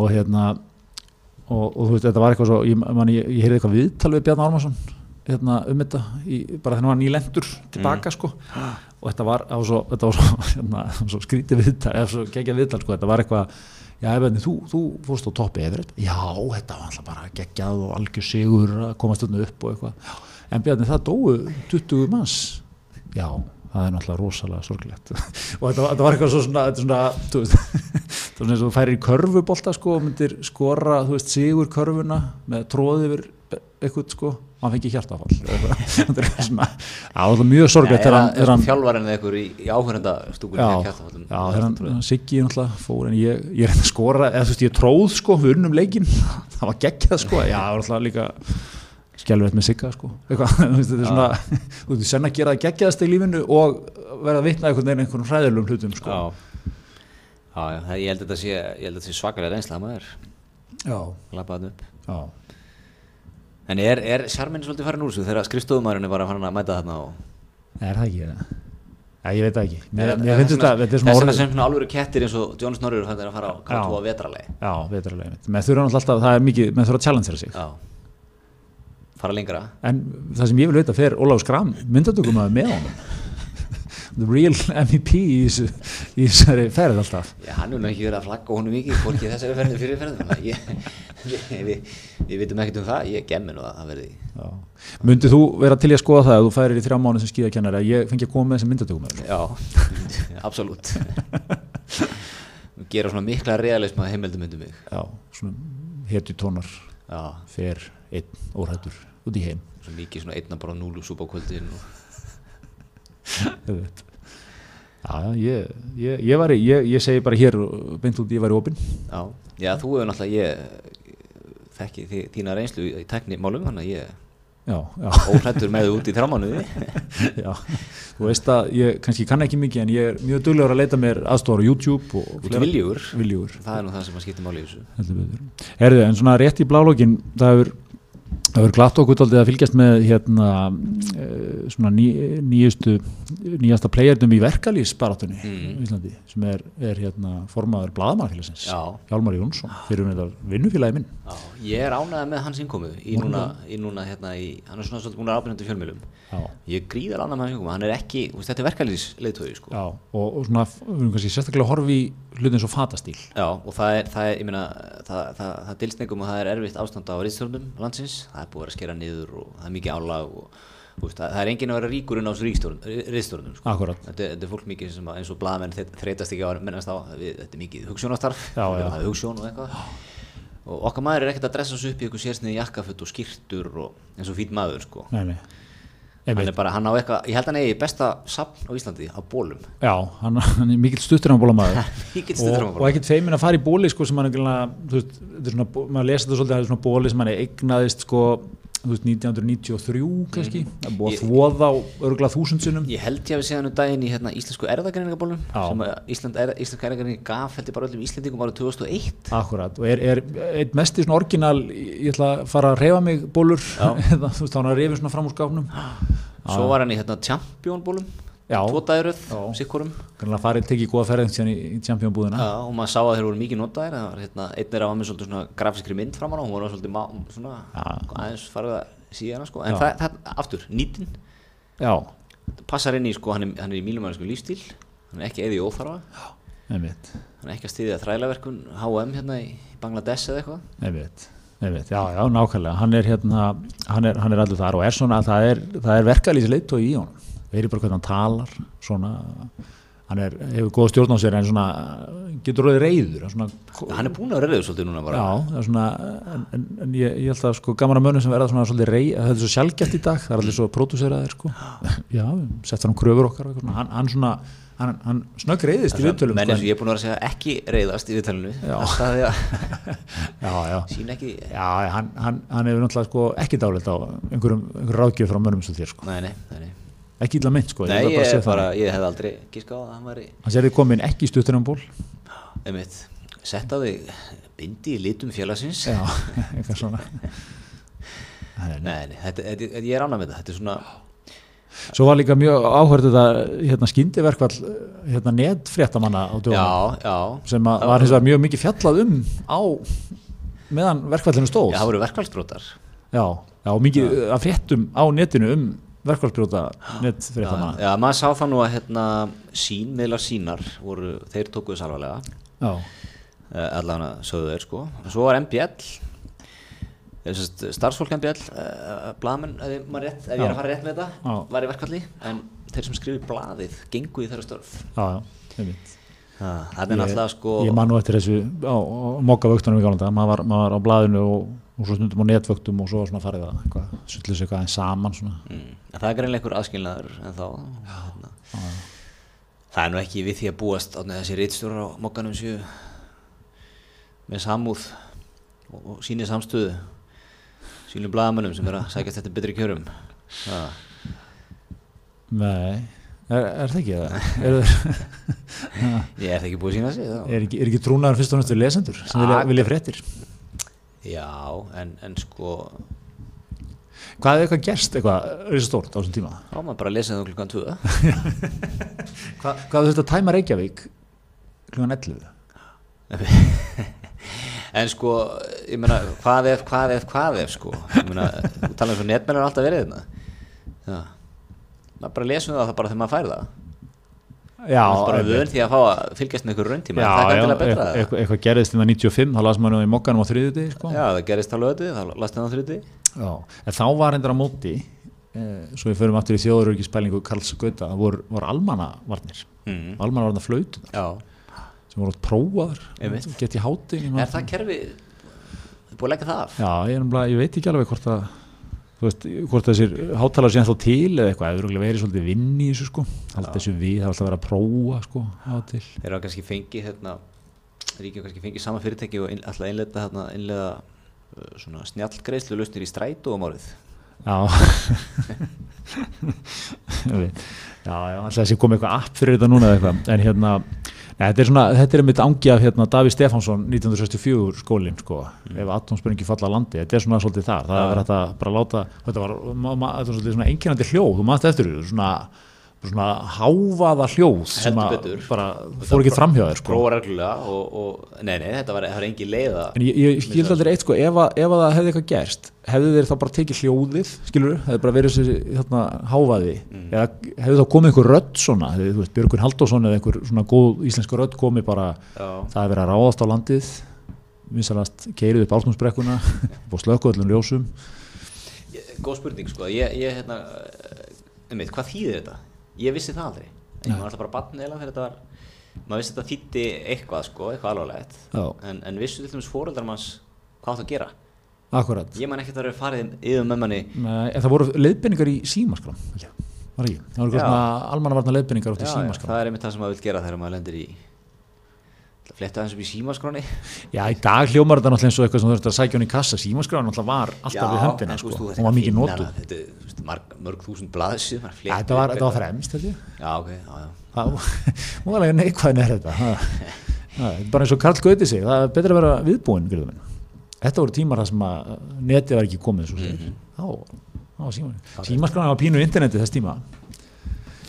Speaker 2: og hérna og, og þú veist, þetta var eitthvað svo ég, man, ég, ég heyrði eitthvað viðtal við Bjarni Ármarsson hérna, um þetta, í, bara þennan var nýlendur tilbaka sko og þetta var, það var svo, þetta var svo, hérna, svo skrítið viðtal, eða svo geggjað viðtal sko, þetta var eitthvað, já, efenni, þú, þú fórst á toppi yfir þetta, já, þetta var alltaf bara geggjað og algjör sigur að komast þarna upp og eitthvað, já, en Bjarni, það dóu 20 manns, já það er náttúrulega rosalega sorglegt og þetta, var- þetta var eitthvað svo svona, þetta er svona þú veist, það er svona eins og þú færir í körfubolta sko og myndir skora, þú veist, sigur körfuna með tróði yfir eitthvað sko, og hann fengi hjartafall þetta er svona, já, það er mjög sorglegt þegar hann- þegar hann
Speaker 1: þjálvarinn eða ykkur í, í áhörendastúkunni
Speaker 2: já, já þegar hann, hann Siggi náttúrulega fór en ég, ég reyndi að skora, eða þú veist ég tróð sko, við unnum leikin, það var geggjað sko, já það var alltaf líka skjálfett með Sigga sko, eitthvað þú veist, þetta er svona, þú veist, senn að gera það geggjaðast í lífinu og verða að vitna einhvern veginn einhvern hræðilegum hlutum sko
Speaker 1: já, já, já, það- ég held að þetta sé, ég held að þetta sé svakalega reynsla að maður
Speaker 2: já,
Speaker 1: lappa þetta upp
Speaker 2: já.
Speaker 1: en er, er sjarminn svolítið farin úr þessu þegar skrifstofumæðurinn var að fara að mæta þarna og
Speaker 2: er það ekki það? Já, ég veit það ekki, mér,
Speaker 1: Nei,
Speaker 2: mér
Speaker 1: það-
Speaker 2: finnst
Speaker 1: það-
Speaker 2: þetta, þetta er
Speaker 1: það
Speaker 2: svona
Speaker 1: sem
Speaker 2: orðið
Speaker 1: sem svona alvöru kettir eins og John Snorri er að fara á K2
Speaker 2: Já.
Speaker 1: á vetralegi
Speaker 2: Já, veitaralega, menn þurfa náttúrulega alltaf, það er mikið, menn þurfa að challengera sig
Speaker 1: já fara lengra
Speaker 2: En það sem ég vil veita fer Ólaf Skram myndatökum að með honum the real MEP í, þessu, í þessari ferð alltaf
Speaker 1: Já, hann er nú ekki verið að flagga honum mikið, hvorki í þessari ferðin fyrir ferðin. Við vi, vi vitum ekkert um það, ég gemmi nú að það verði.
Speaker 2: Já. Myndið þú vera til í að skoða það að þú færir í þrjá mánu sem skíðakennari að ég fengi að koma með þessum myndatökum með þér?
Speaker 1: Já, absolutt. Gera svona mikla realisma heimildum undir mig.
Speaker 2: Já, svona hetju tónar
Speaker 1: Já,
Speaker 2: fer einn órættur út í heim
Speaker 1: svo mikið svona einna bara núlu súpa á kvöldin og
Speaker 2: auðvitað. Já, ég, ég, ég, var, í- ég, ég segi bara hér beint út ég var í opinn
Speaker 1: Já, já þú hefur náttúrulega ég þekki þi, þína reynslu í tækni málum þannig að ég
Speaker 2: Já, já,
Speaker 1: er óhrættur með þú út í þrámanuði
Speaker 2: já Þú veist að ég kannski kann ekki mikið en ég er mjög duglegur að leita mér aðstofar á YouTube og
Speaker 1: út í viljúr
Speaker 2: Viljúr
Speaker 1: það er nú það sem að skipta máli í þessu
Speaker 2: heldur betur. Herðu, en svona rétt í blálókin, það hefur, það hefur glatt okkur daldið að fylgjast með hérna eh, svona ný, nýjustu, nýjasta playernum í verkalýsbaratunni
Speaker 1: Mm.
Speaker 2: í Íslandi, sem er, er hérna formaður blaðamannfélagsins,
Speaker 1: Já. Ah.
Speaker 2: Hjálmar Jónsson, fyrir um þetta vinnufélagi minn.
Speaker 1: Já, ég er ánægð með hans innkomu í núna, í núna hérna í, hann er svona svolítið búin að ábyrjandi fjölmjölum
Speaker 2: Já.
Speaker 1: ég gríðar ánægð með hans innkomu, hann er ekki þú veist, þetta er verkalýðsleiðtöði sko.
Speaker 2: Já, og, og svona, við erum kannski sérstaklega að horfa í hlutin svo fatastíl.
Speaker 1: Já, og það er, það er, ég meina, það, það, það dilst neikum og það er erfitt ástand á ríkstjórnum landsins, það er búið að vera að skera niður og það er mikið álag og þú veist, það, það er enginn að vera ríkur inn á þessu ríkstjórnum, sko.
Speaker 2: Akkurat.
Speaker 1: Þetta, er- þetta er fólk mikið sem að, eins og blaðamenn þe- þreytast ekki á að mennast á, við, þetta er mikið hugsjónastarf,
Speaker 2: Já, já.
Speaker 1: það er hugsjón og eitthvað. Og okkar maður er ekkert að dressa þessu upp í eitthvað sérsniði jakkafutt og skýrtur og eins og fýt maður, sko.
Speaker 2: Nei, nei.
Speaker 1: Hann
Speaker 2: Einmitt.
Speaker 1: er bara, hann á eitthvað, ég held hann eigi besta safn á Íslandi á bólum.
Speaker 2: Já, hann, hann er mikill stutturamabólamæður.
Speaker 1: Mikill
Speaker 2: og,
Speaker 1: stuttermabolamaður.
Speaker 2: og ekkert feimin að fara í bóli sko, sem hann er þú veist, þetta er svona, bó- maður lesa þetta svolítið að þetta er svona bóli sem hann er eignaðist sko, þú veist, 1993 kannski, það er búið að þvoða á örgla þúsundsunum
Speaker 1: Ég held ég að við séðan um daginn í hérna, íslensku erðagreiningabólum
Speaker 2: Já.
Speaker 1: sem að Ísland er, íslensku erðagreining gaf held ég bara öllum Íslendingum árið 2001
Speaker 2: Akkurat, og er, er einn mesti svona orginal, ég ætla að fara að reyfa mig bólur, eða þú veist, hann er að reyfa svona fram úr skápnum
Speaker 1: Svo var hann í hérna Championbólum
Speaker 2: Já.
Speaker 1: tvo dagiröð,
Speaker 2: Já.
Speaker 1: sikkurum
Speaker 2: kannski að fara að tekið góða ferðin síðan í, í championbúðina
Speaker 1: og maður sá að þeir voru mikið notaðir það var hérna, einn er að hafa með svolítið svona grafiskri mynd framan á hún var svolítið má, svona aðeins farið að síðan sko. en
Speaker 2: Já.
Speaker 1: það, það, aftur, nýtin
Speaker 2: Já,
Speaker 1: passar inn í, sko, hann er, hann er í mínumæðisku lífstíl hann er ekki eði óþarfa
Speaker 2: einmitt
Speaker 1: hann er ekki að styðja þrælaverkun H&M hérna í Bangladesh eða eitthvað
Speaker 2: Einmitt, einmitt, já, já, nákvæmlega hann er hérna, hann er, hann er allir þar og er svona, það er, það er verkalýsi leitt í honum, veri bara hvernig hann talar svona, hann er hefur góð stjórn á sér en svona getur rauði reyður, svona
Speaker 1: hann er búin að reyðu svolítið núna bara
Speaker 2: Já, það er svona, en, en, en ég, ég held að sko gamara mönnum sem verða svona svolítið rey, það er svo sjálfgætt í dag, það er allir svo pródúseraðir sko, já, sett hann kröfur okkar, og eitthvað svona. hann, hann svona, hann, hann snögg reyðist í viðtölum
Speaker 1: menn
Speaker 2: sko,
Speaker 1: eins og ég er búin að vera að segja ekki reyðast í viðtalinu
Speaker 2: Já.
Speaker 1: alltaf því að
Speaker 2: en- já, já,
Speaker 1: sín ekki
Speaker 2: Já, já, hann, hann, hann hefur náttúrulega sko ekki dálit á einhverjum, einhverjum ráðgjöf frá mönnum sem þér sko.
Speaker 1: nei, nei, nei, nei.
Speaker 2: Ekki illa mynd sko.
Speaker 1: nei
Speaker 2: ætla
Speaker 1: ég,
Speaker 2: bara að
Speaker 1: er
Speaker 2: segja það.
Speaker 1: bara, ég hef aldrei gíska á að hann væri
Speaker 2: Hann sér þið komin ekki í stuttunum ból.
Speaker 1: einmitt, setta þig bindi í litum félagsins
Speaker 2: Já, eitthvað svona. Nei, nei.
Speaker 1: nei, nei, þetta, þetta, þetta, ég er ánað með það þetta er svona,
Speaker 2: Svo var líka mjög áhört þetta hérna, skyndiverkvall hérna, netfréttamanna á
Speaker 1: já,
Speaker 2: dögum
Speaker 1: já
Speaker 2: sem að, var hins vegar mjög mikið fjallað um á meðan verkvallinu stóð.
Speaker 1: já, það voru verkvælsbrotar
Speaker 2: já, já, og mikið að fréttum á netinu um verkvallsbrjóta netfréttamanna.
Speaker 1: já, maður sá það nú að hérna sín, miðlar sínar voru, þeir tóku þess alvarlega
Speaker 2: Já,
Speaker 1: Eh, allavega sögðu þeir sko og svo var MBL eh, starfsfólk MBL uh, blamen, ef, ég man rétt, ef ég er að fara rétt með þetta
Speaker 2: Já.
Speaker 1: var í verkvalli, en þeir sem skrifu blaðið gengu í þeirra störf
Speaker 2: já, já, einmitt.
Speaker 1: það er náttúrulega sko
Speaker 2: ég man nú eftir þessu á, á mokkavöktunum í gálan dag, maður var, maður var á blaðinu og, og svo stundum á netvöktum og svo var svona farið að eitthvað, sullu sig eitthvað aðeins saman svona.
Speaker 1: mm, en það er greinlega einhver aðskilnaður en þá hérna. það er nú ekki við því að búast átnið þessi reitstjórar á mokkanum séu með samúð og, og síni samstöðu sínum blaðamönnum sem er að sækjast þetta betri kjörum það
Speaker 2: Nei, er, er það ekki það? Er,
Speaker 1: Ég er það ekki búið að sína sig þá.
Speaker 2: er, ekki, er ekki trúnaður fyrst og næstu lesendur sem vilja,
Speaker 1: Ak-
Speaker 2: vilja fréttir?
Speaker 1: Já, en, en sko,
Speaker 2: Hvað hefði eitthvað gerst eitthvað, er stórt á þessum tíma?
Speaker 1: þá maður bara að lesa það um klukkan 2.
Speaker 2: Hva, hvað hefði þetta tæma Reykjavík klukkan 11?
Speaker 1: en sko, ég meina, hvað ef, hvað ef, hvað ef, sko. Ég meina, þú talar um svo netmennar alltaf verið hérna. Já, maður bara lesum það bara þegar maður fær það.
Speaker 2: Já,
Speaker 1: bara
Speaker 2: einmitt.
Speaker 1: vön því að fá að fylgjast með ykkur rauntíma en það er gandilega
Speaker 2: e-
Speaker 1: betra
Speaker 2: eitthvað, eitthvað gerðist innan 95, þá las maður nú í mokkanum á þriðið sko.
Speaker 1: Já, það gerist á löðu, þá lastu það á þrjuti
Speaker 2: Já, en þá var hendur á móti eh, svo við förum aftur í þjóðurörgispælingu Karls Gauta, það voru, voru almannavarnir
Speaker 1: mm.
Speaker 2: almannavarnar flautunar
Speaker 1: Já,
Speaker 2: sem voru oft prófaðar
Speaker 1: Einmitt.
Speaker 2: gett í hátin
Speaker 1: er það kerfi búið að leggja það af?
Speaker 2: Já, ég, nefnilega, ég veit ekki alveg hvort að þú veist, hvort þessir hátalar sé ennþá til eða eitthvað, það eru verið svolítið vinn í þessu sko, haldið þessu við, það var alltaf verið að prófa sko, hátil
Speaker 1: Þeir eru kannski fengið hérna, ríkið kannski fengið sama fyrirtæki og inn, alltaf innlega, hérna, innlega uh, svona snjallgreislu lausnir í strætó um árið
Speaker 2: Já Ég veit. Já, já, alltaf þessi komið eitthvað app fyrir þetta núna eða eitthvað, en hérna Nei, þetta er svona, þetta er mitt angi af hérna Davíð Stefánsson 1964 skólinn sko, ef atomspöringi falla á landi, þetta er svona svolítið þar, það
Speaker 1: Mm. Já.
Speaker 2: er þetta bara að láta, þetta var, ma, ma, þetta var svolítið svona einkennandi hljóð, þú maður eftir því, svona, svona hávaða hljóð sem
Speaker 1: Heldur
Speaker 2: að
Speaker 1: betur.
Speaker 2: bara fór ekki framhjá þér sko.
Speaker 1: prófa reglulega og, og nei, nei, þetta var, það var engin leið að
Speaker 2: En ég, ég skildi aldrei eitt sko, ef, að, ef að það hefði eitthvað gerst, hefðu þeir þá bara tekið hljóðið, skilur, hefði bara verið þessi þarna hávaði,
Speaker 1: Mm.
Speaker 2: eða hefði þá komið einhver rödd svona, hefði, þú veist, Björgun Halldórsson eða einhver svona góð íslensku rödd komið bara,
Speaker 1: Já.
Speaker 2: það hefði verið að ráðast á landið, vinsalast keirið upp ártúnsbrekkuna, búið slökuðallum ljósum,
Speaker 1: Ég- Góð spurning sko, ég, ég hérna, einmitt, hvað þýðir þetta? Ég vissi það aldrei, ég var alltaf bara barn eða þegar þetta var, maður vissi þetta þýtti eitthvað sko, eitthvað alvarlegt,
Speaker 2: Já.
Speaker 1: en, en vissu til dæmis fóreldrar manns hvað átt að gera?
Speaker 2: akkurat.
Speaker 1: Ég man ekki að það eru farið yfir með manni,
Speaker 2: Nei, En það voru leiðbendingar í símaskram, held ég, var ekki, það
Speaker 1: Já.
Speaker 2: voru eitthvað svona almannavarna leiðbendingar átt í
Speaker 1: já, já,
Speaker 2: símaskram.
Speaker 1: það er einmitt það sem maður vil gera þegar maður lendir í, Það fletta aðeins upp í símaskróni.
Speaker 2: Já, í dag hljómar þetta náttúrulega eins og eitthvað sem þú þurft að sækja hún í kassa símaskráin náttúrulega var alltaf við höndina sko, hún var mikið notuð Já,
Speaker 1: Þetta, er, þú veist, marg, mörg þúsund blaðsjum, maður fletta.
Speaker 2: Þetta var, þetta var fremst, held ég
Speaker 1: Já, ok, já, já.
Speaker 2: Það var alveg neikvæðin er þetta ha. Ha, bara eins og Karl Gauti sig það er betra að vera viðbúinn, greiðum minn Þetta voru tímar þar sem að netið var ekki komið svo segir, þá, Mhm. þá var símaskráin Símaskráin var pínu internetið þess tíma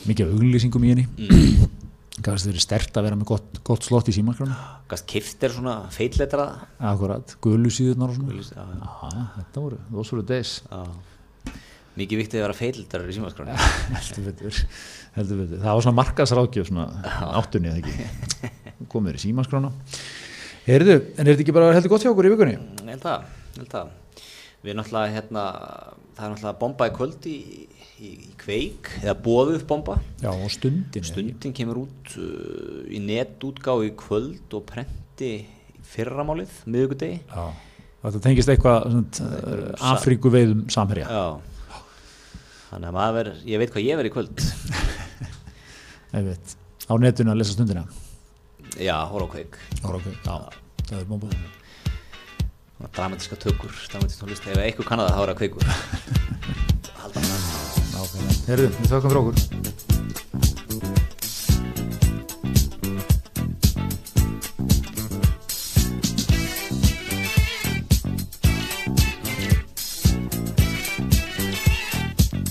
Speaker 2: mikið af auglýsingum í henni mm. Gafst þeirri stert að vera með gott, gott slott í símaskráin
Speaker 1: Gast kiftir svona feitletrað.
Speaker 2: Akkurat, gulu síðurnar og svona
Speaker 1: Já, já.
Speaker 2: Já, þetta voru, those were the days
Speaker 1: Já. Mikið viktið að vera feildarar í símaskráni.
Speaker 2: heldur betur, heldur betur það var svona markasrákjöf svona áttunni eða ekki komið í símaskrána Heyrðu, en er þetta ekki bara heldur gott hjá okkur í vikunni?
Speaker 1: Ég held það, ég held það. Við náttúrulega, hérna, það er náttúrulega bomba í kvöld í, í, í kveik, eða bóðuð bomba.
Speaker 2: Já, og stundin eða ekki?
Speaker 1: Stundin kemur út uh, í netútgáðu í kvöld og prenti í fyrramálið, miðugudegi.
Speaker 2: Já, þetta tengist eitthvað svona, Afríku veiðum samherja
Speaker 1: Já. Þannig að maður, verður- ég veit hvað ég verð í kvöld.
Speaker 2: ef veit, á netinu að lesa stundina
Speaker 1: Já, horf á kveik.
Speaker 2: Ára, okay. Já, það er bomba
Speaker 1: Svona Dramatiska tökur, dramatisk tónlist, ef eitthvað kannada þá er það kveikur. Haldan hann.
Speaker 2: Ákveðna. Heyrðu, við þökkum fyrir okkur